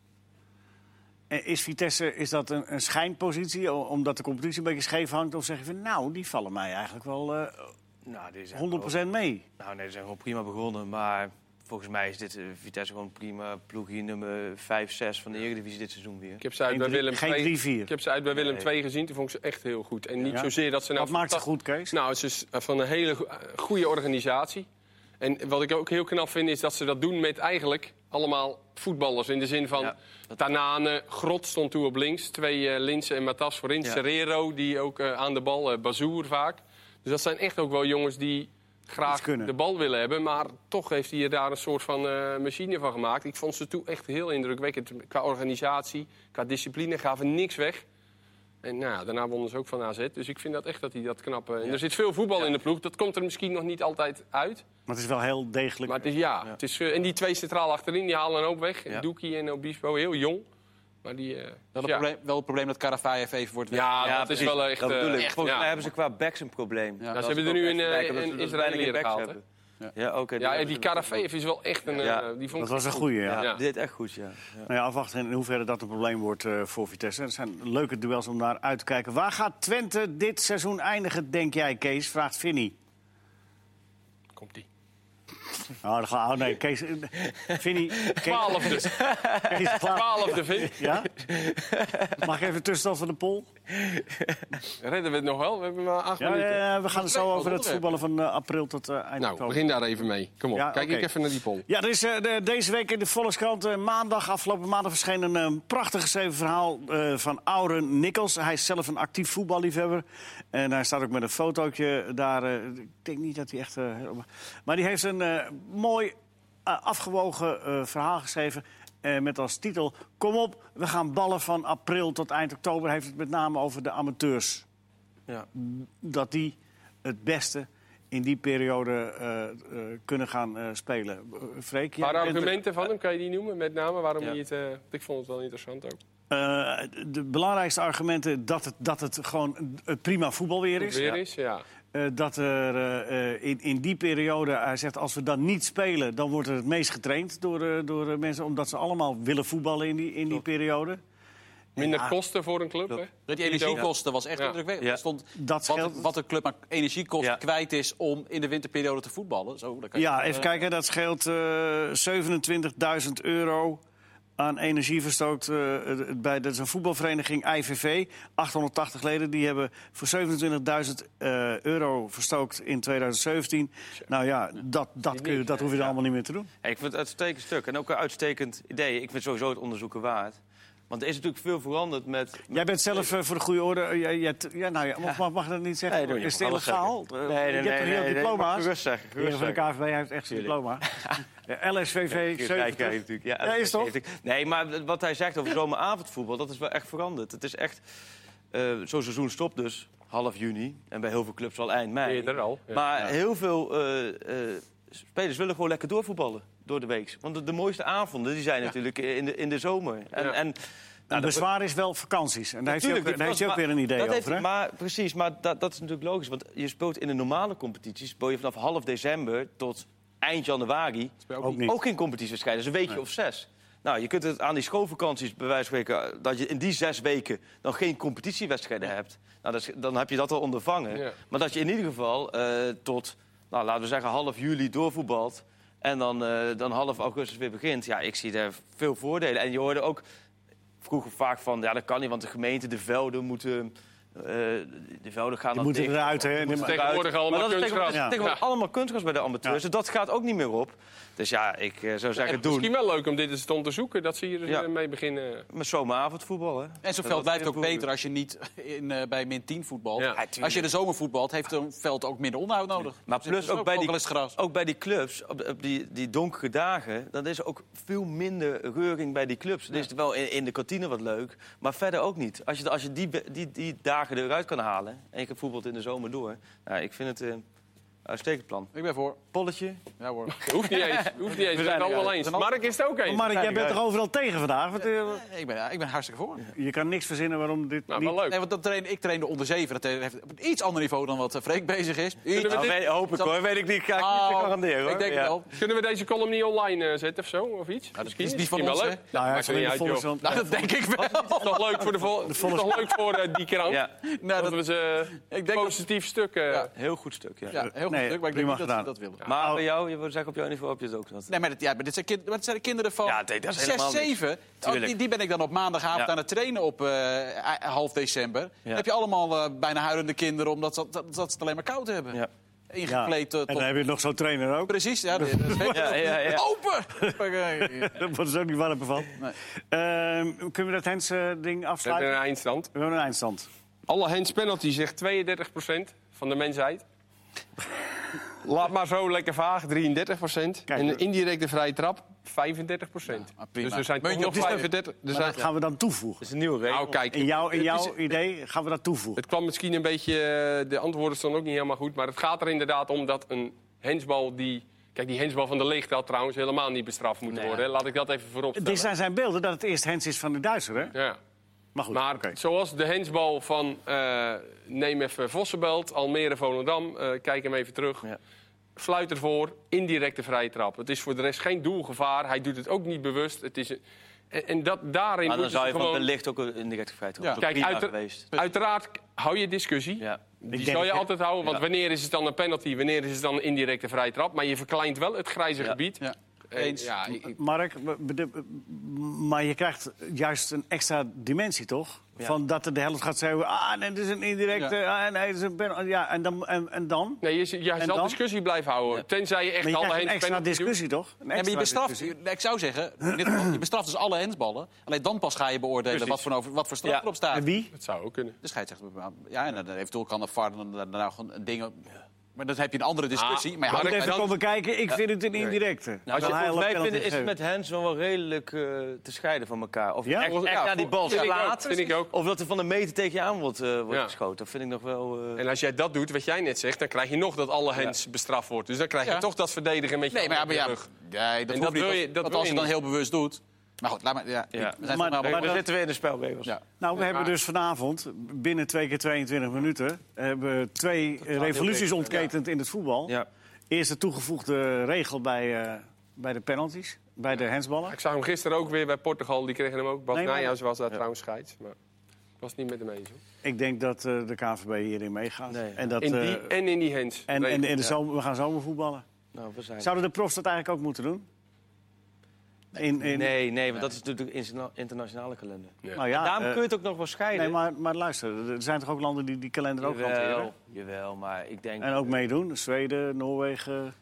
[SPEAKER 1] En is Vitesse is dat een, een schijnpositie, o- omdat de competitie een beetje scheef hangt? Of zeg je van, nou, die vallen mij eigenlijk wel eh,
[SPEAKER 2] Nou, die zijn
[SPEAKER 1] 100% mee?
[SPEAKER 2] Nou, nee, ze zijn gewoon prima begonnen, maar volgens mij is dit eh, Vitesse gewoon prima ploegje nummer 5, 6 van de Eredivisie dit seizoen weer.
[SPEAKER 3] Ik heb ze uit
[SPEAKER 1] Geen
[SPEAKER 3] bij
[SPEAKER 1] drie-
[SPEAKER 3] Willem
[SPEAKER 1] geen
[SPEAKER 3] II-
[SPEAKER 1] 3-4.
[SPEAKER 3] Ik heb ze uit bij Willem
[SPEAKER 2] Nee.
[SPEAKER 3] II gezien. Toen vond ik ze echt heel goed. En niet
[SPEAKER 1] Ja.
[SPEAKER 3] zozeer dat ze nou...
[SPEAKER 1] Wat maakt ze
[SPEAKER 3] fanta-
[SPEAKER 1] goed, Kees?
[SPEAKER 3] Nou, het is eh, van een hele go- eh, goede organisatie. En wat ik ook heel knap vind, is dat ze dat doen met eigenlijk allemaal voetballers. In de zin van
[SPEAKER 2] Ja,
[SPEAKER 3] Tanane, Grot stond toen op links. Twee eh Linsen en Matas voorin.
[SPEAKER 2] Ja.
[SPEAKER 3] Serrero, die ook eh, aan de bal. eh Bazoer vaak. Dus dat zijn echt ook wel jongens die
[SPEAKER 1] Iets
[SPEAKER 3] graag
[SPEAKER 1] kunnen.
[SPEAKER 3] de bal willen hebben. Maar toch heeft hij er daar een soort van eh, machine van gemaakt. Ik vond ze toen echt heel indrukwekkend. Qua organisatie, qua discipline gaven niks weg. En nou, ja, daarna wonnen ze ook van AZ. Dus ik vind dat echt dat hij dat knap... eh, en Er zit veel voetbal in de ploeg. Dat komt er misschien nog niet altijd uit.
[SPEAKER 1] Maar het is wel heel degelijk.
[SPEAKER 3] Maar het is, ja, Het is, eh, en die twee centraal achterin, die halen een hoop weg.
[SPEAKER 2] Ja.
[SPEAKER 3] Doekie en Obispo, heel jong. Maar die... eh,
[SPEAKER 4] Wel het
[SPEAKER 3] ja.
[SPEAKER 4] probleem, wel het probleem dat Karavaev even wordt weg.
[SPEAKER 3] Ja,
[SPEAKER 2] Ja,
[SPEAKER 3] dat
[SPEAKER 2] precies.
[SPEAKER 3] is wel echt...
[SPEAKER 2] Dat
[SPEAKER 3] eh,
[SPEAKER 2] bedoel ik.
[SPEAKER 3] echt,
[SPEAKER 2] Volgens
[SPEAKER 3] ja.
[SPEAKER 2] mij hebben ze qua backs een probleem.
[SPEAKER 4] ze
[SPEAKER 2] Dat
[SPEAKER 3] hebben
[SPEAKER 2] is
[SPEAKER 3] er nu
[SPEAKER 2] ook
[SPEAKER 3] een,
[SPEAKER 2] echt
[SPEAKER 3] eh,
[SPEAKER 2] kijken,
[SPEAKER 3] een
[SPEAKER 2] omdat ze dus
[SPEAKER 3] Israëliër
[SPEAKER 2] weinig backs
[SPEAKER 3] gehaald,
[SPEAKER 2] hebben. Ja, oké. die
[SPEAKER 3] Ja, en die
[SPEAKER 2] hebben ze ook.
[SPEAKER 3] Karafeev is wel echt een... eh,
[SPEAKER 2] Ja.
[SPEAKER 3] die vond
[SPEAKER 1] dat
[SPEAKER 3] ik
[SPEAKER 1] was een
[SPEAKER 3] goed.
[SPEAKER 1] goeie, ja.
[SPEAKER 2] Ja,
[SPEAKER 3] Ja.
[SPEAKER 2] dit echt goed, ja. Ja.
[SPEAKER 1] Nou ja, afwachten in hoeverre dat een probleem wordt eh, voor Vitesse. Het zijn leuke duels om naar uit te kijken. Waar gaat Twente dit seizoen eindigen, denk jij, Kees? Vraagt Vinny.
[SPEAKER 3] Komt die.
[SPEAKER 1] Oh, dan gaan, oh nee, Kees... eh, Vinny... Kees,
[SPEAKER 3] Twaalfde.
[SPEAKER 1] Kees Klaar.
[SPEAKER 3] Twaalfde, vind ik.
[SPEAKER 1] Ja? Mag ik even tussenstand van de poll?
[SPEAKER 3] Redden we het nog wel? We hebben maar acht
[SPEAKER 1] Ja,
[SPEAKER 3] minuten.
[SPEAKER 1] eh, we gaan het zo over het voetballen van eh, april tot eh, eind
[SPEAKER 3] Nou,
[SPEAKER 1] oktober.
[SPEAKER 3] begin daar even mee. Kom op,
[SPEAKER 1] Ja,
[SPEAKER 3] kijk
[SPEAKER 1] oké.
[SPEAKER 3] ik even naar die poll.
[SPEAKER 1] Ja, er is eh, de- deze week in de Volkskrant, eh, maandag, afgelopen maandag, verscheen een eh, prachtig geschreven verhaal eh, van Auren Nikkels. Hij is zelf een actief voetballiefhebber. En hij staat ook met een fotootje daar. eh, ik denk niet dat hij echt... eh, helemaal- maar die heeft een eh, mooi eh, afgewogen eh, verhaal geschreven. eh, met als titel, kom op, we gaan ballen van april tot eind oktober. Hij heeft het met name over de amateurs
[SPEAKER 2] Ja.
[SPEAKER 1] dat die het beste in die periode eh, eh, kunnen gaan eh, spelen. Eh, Freek,
[SPEAKER 3] Een
[SPEAKER 1] jij
[SPEAKER 3] paar
[SPEAKER 1] bent er-
[SPEAKER 3] argumenten van hem, kan je die noemen? Met name waarom
[SPEAKER 2] Ja.
[SPEAKER 3] hij het... eh, ik vond het wel interessant ook.
[SPEAKER 1] Eh, de belangrijkste argumenten dat het, dat het gewoon het prima voetbal weer is.
[SPEAKER 3] Weer is, ja.
[SPEAKER 1] Eh, dat er eh, eh, in, in die periode, hij zegt, als we dan niet spelen... dan wordt er het meest getraind door, eh, door eh, mensen... omdat ze allemaal willen voetballen in die, in die periode.
[SPEAKER 3] Minder
[SPEAKER 1] Ja.
[SPEAKER 3] kosten voor een club, hè?
[SPEAKER 4] Dat die energiekosten was echt
[SPEAKER 3] Ja.
[SPEAKER 4] indrukwekkend.
[SPEAKER 2] Ja.
[SPEAKER 4] Er stond
[SPEAKER 1] Dat
[SPEAKER 4] wat,
[SPEAKER 1] scheelt-
[SPEAKER 4] wat de club aan energiekosten
[SPEAKER 2] Ja.
[SPEAKER 4] kwijt is om in de winterperiode te voetballen. Zo, dan kan je-
[SPEAKER 1] Ja, even kijken. Dat scheelt eh 27.000 euro aan energie verstookt. eh, bij, dat is een voetbalvereniging IVV. 880 leden. Die hebben voor 27.000 eh, euro verstookt in 2017. Nou ja, dat, dat, kun je, dat hoef je dan allemaal niet meer te doen.
[SPEAKER 2] Ja, ik vind het een uitstekend stuk en ook een uitstekend idee. Ik vind het sowieso het onderzoeken waard. Want er is natuurlijk veel veranderd met...
[SPEAKER 1] Jij bent zelf eh, voor de goede orde. eh, jij, jij t- ja, nou ja, mag, mag- mag dat niet zeggen?
[SPEAKER 2] Nee, doe je
[SPEAKER 1] is het
[SPEAKER 2] mag alles
[SPEAKER 1] illegaal?
[SPEAKER 2] zeggen.
[SPEAKER 1] Eh,
[SPEAKER 2] Nee, nee,
[SPEAKER 1] je
[SPEAKER 2] nee,
[SPEAKER 1] hebt toch heel
[SPEAKER 2] nee, nee, mag
[SPEAKER 1] diploma's?
[SPEAKER 2] gerust zeggen,
[SPEAKER 1] De heer van de
[SPEAKER 2] gerust
[SPEAKER 1] KVB heeft echt zijn diploma. Eh, LSVV
[SPEAKER 2] Ja,
[SPEAKER 1] 70.
[SPEAKER 2] kijk, kijk, natuurlijk.
[SPEAKER 1] Ja, is toch?
[SPEAKER 2] Nee, maar wat hij zegt over zomeravondvoetbal, dat is wel echt veranderd. Het is echt... eh, Zo'n seizoen stopt dus half juni. En bij heel veel clubs al eind mei.
[SPEAKER 3] Eerder al. Ja.
[SPEAKER 2] Maar heel veel eh, eh, spelers willen gewoon lekker doorvoetballen door de week. Want de, de mooiste avonden die zijn natuurlijk in de, in de zomer. En,
[SPEAKER 3] Ja.
[SPEAKER 2] en
[SPEAKER 1] Nou, het bezwaar is wel vakanties. En daar heeft hij ook,
[SPEAKER 2] Tuurlijk,
[SPEAKER 1] daar heeft
[SPEAKER 2] dat
[SPEAKER 1] hij ook
[SPEAKER 2] was-
[SPEAKER 1] weer een idee
[SPEAKER 2] dat
[SPEAKER 1] over.
[SPEAKER 2] heeft-
[SPEAKER 1] hè?
[SPEAKER 2] maar, precies, maar dat, dat is natuurlijk logisch. Want je speelt in de normale competities speel je vanaf half december tot eind januari
[SPEAKER 3] Bij ook
[SPEAKER 1] Ook
[SPEAKER 3] niet.
[SPEAKER 1] niet.
[SPEAKER 2] ook geen competitiewedstrijden. Dus een weekje of zes. Nou, je kunt het aan die schoolvakanties bij wijze van spreken... eh, dat je in die zes weken dan geen competitiewedstrijden hebt. Nou, dat is- dan heb je dat al ondervangen.
[SPEAKER 3] Ja.
[SPEAKER 2] Maar dat je in ieder geval eh, tot, nou, laten we zeggen, half juli doorvoetbalt... en dan, eh, dan half augustus weer begint. Ja, ik zie daar veel voordelen. En je hoorde ook vroeger vaak van... ja, dat kan niet, want de gemeente, de velden moeten... eh, de velden gaan
[SPEAKER 1] Die
[SPEAKER 2] dan
[SPEAKER 1] moeten
[SPEAKER 2] dicht.
[SPEAKER 1] eruit, hè?
[SPEAKER 2] Moeten
[SPEAKER 1] Maar-
[SPEAKER 3] Tegenwoordig
[SPEAKER 2] eruit.
[SPEAKER 3] allemaal
[SPEAKER 2] Maar dat is tegenwoordig-
[SPEAKER 3] kunstgras.
[SPEAKER 1] Ja.
[SPEAKER 2] Tegenwoordig allemaal kunstgras bij de
[SPEAKER 1] Ja.
[SPEAKER 2] amateurs. Dus dat gaat ook niet meer op. Dus ja, ik eh, zou
[SPEAKER 3] En
[SPEAKER 2] zeggen, doen.
[SPEAKER 3] Misschien wel leuk om dit eens te onderzoeken, dat ze hier dus,
[SPEAKER 2] Ja.
[SPEAKER 3] eh, mee beginnen.
[SPEAKER 2] Met zomeravondvoetbal, hè?
[SPEAKER 4] En zo'n
[SPEAKER 2] Dat
[SPEAKER 4] veld blijft
[SPEAKER 2] heel
[SPEAKER 4] ook
[SPEAKER 2] goed.
[SPEAKER 4] beter als je niet in, eh, bij min 10 voetbalt.
[SPEAKER 3] Ja. Ja,
[SPEAKER 4] als je in de zomer voetbalt, heeft een veld ook minder onderhoud nodig.
[SPEAKER 2] Maar
[SPEAKER 4] Dus
[SPEAKER 2] plus
[SPEAKER 4] dat is
[SPEAKER 2] ook bij,
[SPEAKER 4] wel
[SPEAKER 2] die, Oh.
[SPEAKER 4] eens gras.
[SPEAKER 2] ook bij die clubs, op, op die, die donkere dagen... dan is er ook veel minder reuring bij die clubs. Er is wel in, in de kantine wat leuk, maar verder ook niet. Als je, als je die, be- die, die dagen eruit kan halen... en ik heb voetbal in de zomer door... Nou, ik vind het eh, een uitstekend plan.
[SPEAKER 4] Ik ben voor.
[SPEAKER 2] Polletje?
[SPEAKER 4] Ja hoor.
[SPEAKER 3] Hoeft niet eens, hoeft niet eens. We zijn het allemaal eens. Mark is het ook eens.
[SPEAKER 1] Oh, Mark, jij bent er overal tegen vandaag. Want, eh,
[SPEAKER 4] Nee, ik, ben, ik ben hartstikke voor.
[SPEAKER 1] je kan niks verzinnen waarom dit
[SPEAKER 3] Nou,
[SPEAKER 1] niet...
[SPEAKER 3] wel leuk.
[SPEAKER 4] Nee, want dat train, ik train de onder 7. Dat eh, heeft op een iets ander niveau dan wat eh, Freek bezig is. Iets-
[SPEAKER 3] we
[SPEAKER 2] Nou, weet, hoop ik
[SPEAKER 4] Zal-
[SPEAKER 2] hoor, weet ik niet. Ga ik niet
[SPEAKER 4] Oh,
[SPEAKER 2] garanderen hoor.
[SPEAKER 4] Ik denk
[SPEAKER 2] Ja.
[SPEAKER 4] het wel.
[SPEAKER 3] Kunnen we deze column niet online eh, zetten of zo? Of iets?
[SPEAKER 4] dat
[SPEAKER 3] Misschien.
[SPEAKER 4] is niet van
[SPEAKER 3] Misschien wel
[SPEAKER 4] ons,
[SPEAKER 3] leuk.
[SPEAKER 1] Nou ja,
[SPEAKER 3] Maakt
[SPEAKER 1] het is alleen
[SPEAKER 3] niet
[SPEAKER 1] de
[SPEAKER 3] uit, joh.
[SPEAKER 1] Volkskrant.
[SPEAKER 4] Nou, dat denk ik wel.
[SPEAKER 3] Toch leuk voor, de vol- toch leuk voor eh, die krant.
[SPEAKER 2] Ja,
[SPEAKER 4] Nou,
[SPEAKER 3] dat
[SPEAKER 4] dat,
[SPEAKER 3] was een
[SPEAKER 4] denk dat-
[SPEAKER 3] positief stuk. eh,
[SPEAKER 4] Ja.
[SPEAKER 2] heel goed stuk, ja.
[SPEAKER 4] ja, heel
[SPEAKER 1] Nee,
[SPEAKER 4] druk, maar ik denk
[SPEAKER 1] prima
[SPEAKER 4] niet dat ze
[SPEAKER 1] gedaan.
[SPEAKER 4] dat willen.
[SPEAKER 2] Maar
[SPEAKER 1] Oh.
[SPEAKER 2] bij jou, je wil zeggen op jouw niveau heb je het ook dat.
[SPEAKER 4] Nee, maar, dit, ja, maar dit, zijn kind- maar dit zijn kinderen van
[SPEAKER 2] Ja, dit- dat is
[SPEAKER 4] 6,
[SPEAKER 2] helemaal niks.
[SPEAKER 4] 7. Oh,
[SPEAKER 2] Tuurlijk.
[SPEAKER 4] die, die ben ik dan op maandagavond
[SPEAKER 2] Ja.
[SPEAKER 4] aan het trainen op eh, a- half december. Dan heb je allemaal eh, bijna huilende kinderen omdat ze, dat, dat ze het alleen maar koud hebben.
[SPEAKER 2] Ja.
[SPEAKER 4] Ingekleed eh,
[SPEAKER 1] En
[SPEAKER 4] tot...
[SPEAKER 1] dan heb je nog zo'n trainer ook.
[SPEAKER 4] Precies, ja. dat- dat weet je
[SPEAKER 2] Ja, ja, ja.
[SPEAKER 4] Open!
[SPEAKER 1] Daar worden ze dus ook niet warm van.
[SPEAKER 4] Nee.
[SPEAKER 1] Ehm, kunnen we dat Hens eh, ding
[SPEAKER 3] We hebben
[SPEAKER 1] afsluiten?
[SPEAKER 3] een eindstand.
[SPEAKER 1] We hebben een eindstand.
[SPEAKER 3] Alle hands penalty zegt 32% van de mensheid. Laat maar zo lekker vaag, 33%. en een
[SPEAKER 1] hoor.
[SPEAKER 3] indirecte vrije trap, 35%.
[SPEAKER 4] maar prima.
[SPEAKER 3] dus er zijn toch
[SPEAKER 4] Muntje
[SPEAKER 3] nog
[SPEAKER 4] op die-
[SPEAKER 3] 35. Er
[SPEAKER 1] Maar
[SPEAKER 3] zijn,
[SPEAKER 1] dat gaan we dan toevoegen.
[SPEAKER 2] is een nieuwe regel.
[SPEAKER 3] nou, kijk,
[SPEAKER 1] In, jou, in
[SPEAKER 3] het is-
[SPEAKER 1] jouw idee gaan we dat toevoegen.
[SPEAKER 3] Het kwam misschien een beetje, eh, de antwoorden stonden ook niet helemaal goed. Maar het gaat er inderdaad om dat een hensbal die... Kijk, die hensbal van de leegte had trouwens helemaal niet bestraft moeten worden. Laat ik dat even voorop
[SPEAKER 1] Dit
[SPEAKER 3] stellen.
[SPEAKER 1] zijn zijn beelden dat het eerst Hens is van de Duitser, hè?
[SPEAKER 3] Ja.
[SPEAKER 1] Maar goed,
[SPEAKER 3] Maar
[SPEAKER 1] oké.
[SPEAKER 3] zoals de hensbal van, eh, neem even Vossenbelt, Almere, Volendam. eh, kijk hem even terug.
[SPEAKER 2] Ja.
[SPEAKER 3] Fluit ervoor, indirecte vrije trap. Het is voor de rest geen doelgevaar. Hij doet het ook niet bewust. Het is een- en, en dat, daarin
[SPEAKER 2] Maar Ah, dan
[SPEAKER 3] moeten ze
[SPEAKER 2] zou je van
[SPEAKER 3] gewoon...
[SPEAKER 2] de licht ook in de 30
[SPEAKER 4] Ja.
[SPEAKER 2] ja.
[SPEAKER 3] Kijk,
[SPEAKER 2] Kijk,
[SPEAKER 3] uiter-
[SPEAKER 2] geweest. Nou,
[SPEAKER 3] uiteraard hou je discussie.
[SPEAKER 2] Ja.
[SPEAKER 3] Die
[SPEAKER 1] denk
[SPEAKER 3] zal je
[SPEAKER 1] het, hè?
[SPEAKER 3] altijd houden, want
[SPEAKER 2] Ja.
[SPEAKER 3] wanneer is het dan een penalty, wanneer is het dan een indirecte vrije trap? Maar je verkleint wel het grijze
[SPEAKER 2] Ja.
[SPEAKER 3] gebied.
[SPEAKER 4] Ja.
[SPEAKER 3] En
[SPEAKER 4] Eens.
[SPEAKER 3] Ja, ik- ik-
[SPEAKER 1] Mark, we- we- de- maar je krijgt juist een extra dimensie, toch? Van dat de helft gaat zeggen, ah, nee, dit is een indirecte, ah, nee, dit is een penalty. Ja, en dan? En, en dan?
[SPEAKER 3] nee, je, je zal
[SPEAKER 1] dan?
[SPEAKER 3] discussie blijven houden. Tenzij je echt
[SPEAKER 1] Maar je
[SPEAKER 3] alle
[SPEAKER 1] krijgt
[SPEAKER 3] hens
[SPEAKER 1] een extra
[SPEAKER 3] penalty doet.
[SPEAKER 1] discussie, toch? Een
[SPEAKER 4] Ja, maar je
[SPEAKER 1] extra
[SPEAKER 4] bestraft,
[SPEAKER 1] discussie.
[SPEAKER 4] ik zou zeggen, in dit geval, je bestraft dus alle hensballen. Alleen dan pas ga je beoordelen wat voor, over, wat voor straf
[SPEAKER 2] Ja.
[SPEAKER 4] erop staat.
[SPEAKER 1] En wie?
[SPEAKER 3] Dat zou ook kunnen.
[SPEAKER 4] De scheidsrechter bepaalt. Ja, en dan eventueel kan de VAR dan daarna gewoon een ding... Maar dan heb je een andere discussie.
[SPEAKER 3] Ah,
[SPEAKER 4] maar ja,
[SPEAKER 3] maar
[SPEAKER 1] Moet
[SPEAKER 3] en
[SPEAKER 1] even
[SPEAKER 3] dan-
[SPEAKER 1] komen kijken, ik vind het een indirecte.
[SPEAKER 2] Nou,
[SPEAKER 1] Terwijl hij al
[SPEAKER 2] volgens
[SPEAKER 1] een
[SPEAKER 2] mij
[SPEAKER 1] penalty
[SPEAKER 2] vinden, is het
[SPEAKER 1] geeft.
[SPEAKER 2] met Hens wel redelijk eh, te scheiden van elkaar. Of
[SPEAKER 1] Ja?
[SPEAKER 2] echt, echt
[SPEAKER 3] Ja,
[SPEAKER 2] naar die bal
[SPEAKER 3] vind ik ook,
[SPEAKER 2] slaat.
[SPEAKER 3] vind ik ook.
[SPEAKER 2] Of dat er van een meter tegen je aan wordt, eh, wordt
[SPEAKER 3] Ja.
[SPEAKER 2] geschoten. Dat vind ik nog wel... eh,
[SPEAKER 3] En als jij dat doet, wat jij net zegt, dan krijg je nog dat alle hens bestraft wordt. Dus dan krijg je
[SPEAKER 4] Ja.
[SPEAKER 3] toch dat verdedigen met je
[SPEAKER 4] Nee, maar ja, maar ja,
[SPEAKER 3] handen op je rug.
[SPEAKER 4] nee, dat,
[SPEAKER 3] En
[SPEAKER 4] hoeft
[SPEAKER 3] dat
[SPEAKER 4] niet,
[SPEAKER 3] wil
[SPEAKER 4] want-
[SPEAKER 3] je- dat
[SPEAKER 4] want
[SPEAKER 3] wil
[SPEAKER 4] als
[SPEAKER 3] je
[SPEAKER 4] je dan
[SPEAKER 3] niet.
[SPEAKER 4] heel bewust doet... Maar goed, laat maar... Ja,
[SPEAKER 2] Ja.
[SPEAKER 4] We zijn
[SPEAKER 1] Maar-
[SPEAKER 4] toch
[SPEAKER 1] maar
[SPEAKER 4] nou
[SPEAKER 2] dan
[SPEAKER 1] dat-
[SPEAKER 2] zitten we in de spelregels.
[SPEAKER 4] Ja.
[SPEAKER 1] Nou, we hebben dus vanavond, binnen twee keer 22 minuten... hebben we twee revoluties ontketend in het voetbal.
[SPEAKER 2] Ja.
[SPEAKER 1] Eerst de toegevoegde regel bij, eh, bij de penalties, bij de hensballen.
[SPEAKER 3] Ik zag hem gisteren ook weer bij Portugal, die kregen hem ook. Bas
[SPEAKER 1] Nee, maar-
[SPEAKER 3] Nijhuis was daar trouwens scheids, maar was het niet met hem eens. hoor.
[SPEAKER 1] Ik denk dat eh, de KNVB hierin meegaat.
[SPEAKER 2] Nee, ja.
[SPEAKER 1] en, dat,
[SPEAKER 3] In
[SPEAKER 1] eh,
[SPEAKER 3] die en in die hens.
[SPEAKER 1] en, en,
[SPEAKER 3] Regel.
[SPEAKER 1] en de zomer, we gaan zomer voetballen.
[SPEAKER 2] Nou, we zijn...
[SPEAKER 1] Zouden de profs dat eigenlijk ook moeten doen? In, in,
[SPEAKER 2] Nee, nee, want dat is natuurlijk de interna- internationale kalender.
[SPEAKER 1] Nou ja,
[SPEAKER 2] Daarom
[SPEAKER 1] eh,
[SPEAKER 2] kun je het ook nog wel scheiden.
[SPEAKER 1] nee, maar, maar luister, er zijn toch ook landen die die kalender ook hanteren?
[SPEAKER 2] jawel, jawel, maar ik denk...
[SPEAKER 1] En ook meedoen? Zweden, Noorwegen,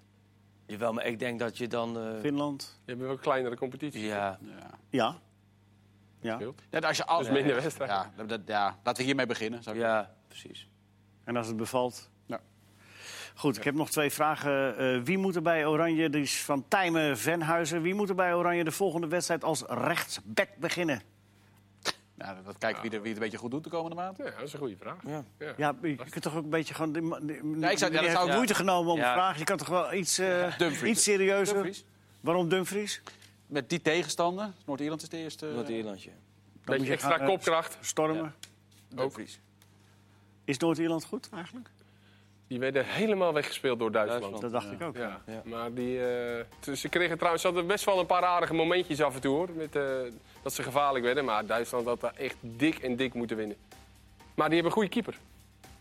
[SPEAKER 2] Jawel, maar ik denk dat je dan... eh,
[SPEAKER 1] Finland?
[SPEAKER 3] Je hebt wel kleinere competities.
[SPEAKER 2] ja,
[SPEAKER 1] Ja. Ja.
[SPEAKER 4] Ja, als je al...
[SPEAKER 3] Dus minder wedstrijden.
[SPEAKER 4] Ja, dat, dat- ja, laten we hiermee beginnen. Zou ik-
[SPEAKER 2] ja, precies.
[SPEAKER 1] En als het bevalt? Nou.
[SPEAKER 4] Ja.
[SPEAKER 1] Goed, ik heb nog twee vragen. Eh, wie moet er bij Oranje, die is van Tijmen Venhuizen... wie moet er bij Oranje de volgende wedstrijd als rechtsback beginnen?
[SPEAKER 4] Ja, dat kijken wie, er, wie het een beetje goed doet de komende maand.
[SPEAKER 3] Ja, dat is een goede vraag.
[SPEAKER 2] Ja.
[SPEAKER 3] Ja.
[SPEAKER 1] Ja, maar je kunt toch ook een beetje gewoon... Die, ma- die,
[SPEAKER 4] Ja, ik zou- ja, dat
[SPEAKER 1] die heeft
[SPEAKER 4] zou ik-
[SPEAKER 1] moeite genomen om
[SPEAKER 2] Ja.
[SPEAKER 1] te vragen. Je kan toch wel iets, eh,
[SPEAKER 4] Dumfries.
[SPEAKER 1] iets serieuzer...
[SPEAKER 4] Dumfries.
[SPEAKER 1] Waarom Dumfries?
[SPEAKER 4] Met die tegenstander. Noord-Ierland is de eerste.
[SPEAKER 2] Noord-Ierlandje.
[SPEAKER 1] Dan moet
[SPEAKER 3] Beetje
[SPEAKER 1] je
[SPEAKER 3] extra
[SPEAKER 1] gaan, eh,
[SPEAKER 3] kopkracht.
[SPEAKER 1] Stormen.
[SPEAKER 3] Dumfries.
[SPEAKER 1] Is Noord-Ierland goed eigenlijk?
[SPEAKER 3] Die werden helemaal weggespeeld door Duitsland.
[SPEAKER 1] Dat dacht ik ook.
[SPEAKER 3] Ja.
[SPEAKER 2] Ja.
[SPEAKER 3] Maar die, eh, t- ze kregen trouwens ze hadden best wel een paar aardige momentjes af en toe hoor. Met, eh, dat ze gevaarlijk werden. Maar Duitsland had daar echt dik en dik moeten winnen. Maar die hebben een goede keeper.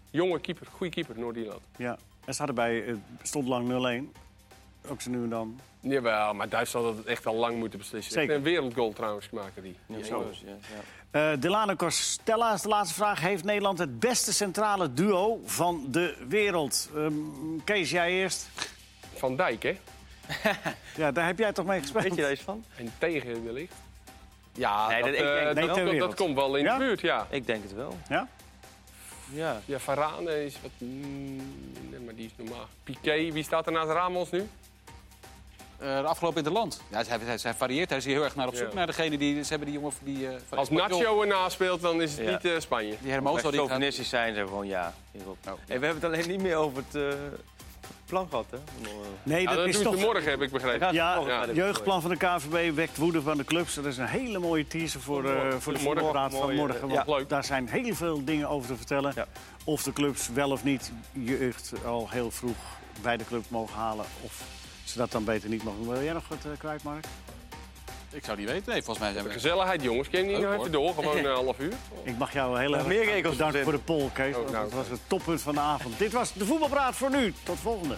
[SPEAKER 3] Jonge keeper, goede keeper, Noord-Ierland.
[SPEAKER 1] Ja. En staat erbij, het eh, stond lang 0-1. Ook ze nu en dan.
[SPEAKER 3] Jawel, maar Duitsland had het echt al lang moeten beslissen.
[SPEAKER 1] Zeker.
[SPEAKER 3] Echt Een wereldgoal trouwens maken die.
[SPEAKER 2] Ja,
[SPEAKER 3] die
[SPEAKER 2] zo.
[SPEAKER 3] Engelsen.
[SPEAKER 2] is- ja, ja.
[SPEAKER 1] Eh Delano Costella is de laatste vraag. Heeft Nederland het beste centrale duo van de wereld? Ehm, Kees, jij eerst.
[SPEAKER 3] Van Dijk, hè?
[SPEAKER 1] Ja, daar heb jij toch mee gespeeld?
[SPEAKER 2] Weet je daar iets van?
[SPEAKER 3] En tegen de licht. Ja,
[SPEAKER 2] Nee,
[SPEAKER 3] dat,
[SPEAKER 2] dat- ik denk
[SPEAKER 3] eh,
[SPEAKER 2] dat-
[SPEAKER 3] dat,
[SPEAKER 1] ter
[SPEAKER 3] dat,
[SPEAKER 1] wereld.
[SPEAKER 3] komt wel in
[SPEAKER 1] Ja?
[SPEAKER 3] de buurt, ja.
[SPEAKER 2] Ik denk het wel.
[SPEAKER 1] Ja?
[SPEAKER 2] Ja.
[SPEAKER 3] Ja, Varane is wat minder, maar die is normaal. Piqué, wie staat er naast Ramos nu?
[SPEAKER 4] Eh, de afgelopen Interland. Ja, hij, hij, hij varieert. Hij is hier heel erg naar op zoek.
[SPEAKER 3] Ja.
[SPEAKER 4] Naar degene die... Ze hebben die jongen... Die, eh, van
[SPEAKER 3] Als
[SPEAKER 4] Espanyol,
[SPEAKER 3] Nacho erna speelt, dan is het
[SPEAKER 2] Ja.
[SPEAKER 3] niet eh, Spanje.
[SPEAKER 4] Die
[SPEAKER 2] Als
[SPEAKER 4] Hermoso
[SPEAKER 2] we
[SPEAKER 4] die gaat...
[SPEAKER 2] chauvinistisch zijn, zijn we gewoon ja hierop.
[SPEAKER 4] Oh.
[SPEAKER 2] Hey, we hebben het alleen niet meer over het eh, plan gehad, hè?
[SPEAKER 1] Nee,
[SPEAKER 3] Ja,
[SPEAKER 1] dat
[SPEAKER 3] Nou, dat
[SPEAKER 1] is
[SPEAKER 3] doen ze
[SPEAKER 1] toch...
[SPEAKER 3] morgen, Oh, heb ik begrepen.
[SPEAKER 1] Ja,
[SPEAKER 2] Morgen
[SPEAKER 1] het
[SPEAKER 2] verder.
[SPEAKER 1] jeugdplan van de KVB wekt woede van de clubs. Dat is een hele mooie teaser voor, eh voor de
[SPEAKER 3] Morgen.
[SPEAKER 1] voetbalraad van
[SPEAKER 2] Mooi, eh,
[SPEAKER 1] morgen.
[SPEAKER 2] ja.
[SPEAKER 1] Want
[SPEAKER 3] Leuk.
[SPEAKER 1] daar zijn heel veel dingen over te vertellen.
[SPEAKER 2] Ja.
[SPEAKER 1] Of de clubs wel of niet jeugd al heel vroeg bij de club mogen halen. Of ze dat dan beter niet mogen. Wil jij nog wat eh, kwijt, Mark?
[SPEAKER 4] Ik zou niet weten. Nee, volgens mij zijn we...
[SPEAKER 3] Gezelligheid, jongens. Ken je niet
[SPEAKER 4] Leuk,
[SPEAKER 3] nou even door? Gewoon een half uur.
[SPEAKER 1] Ik mag jou heel erg
[SPEAKER 2] meer regels
[SPEAKER 1] bedanken
[SPEAKER 2] verzinnen.
[SPEAKER 1] voor de poll, Kees.
[SPEAKER 3] Oh,
[SPEAKER 1] want
[SPEAKER 3] nou.
[SPEAKER 1] Dat was het toppunt van de avond. Dit was de Voetbalpraat voor nu. Tot volgende.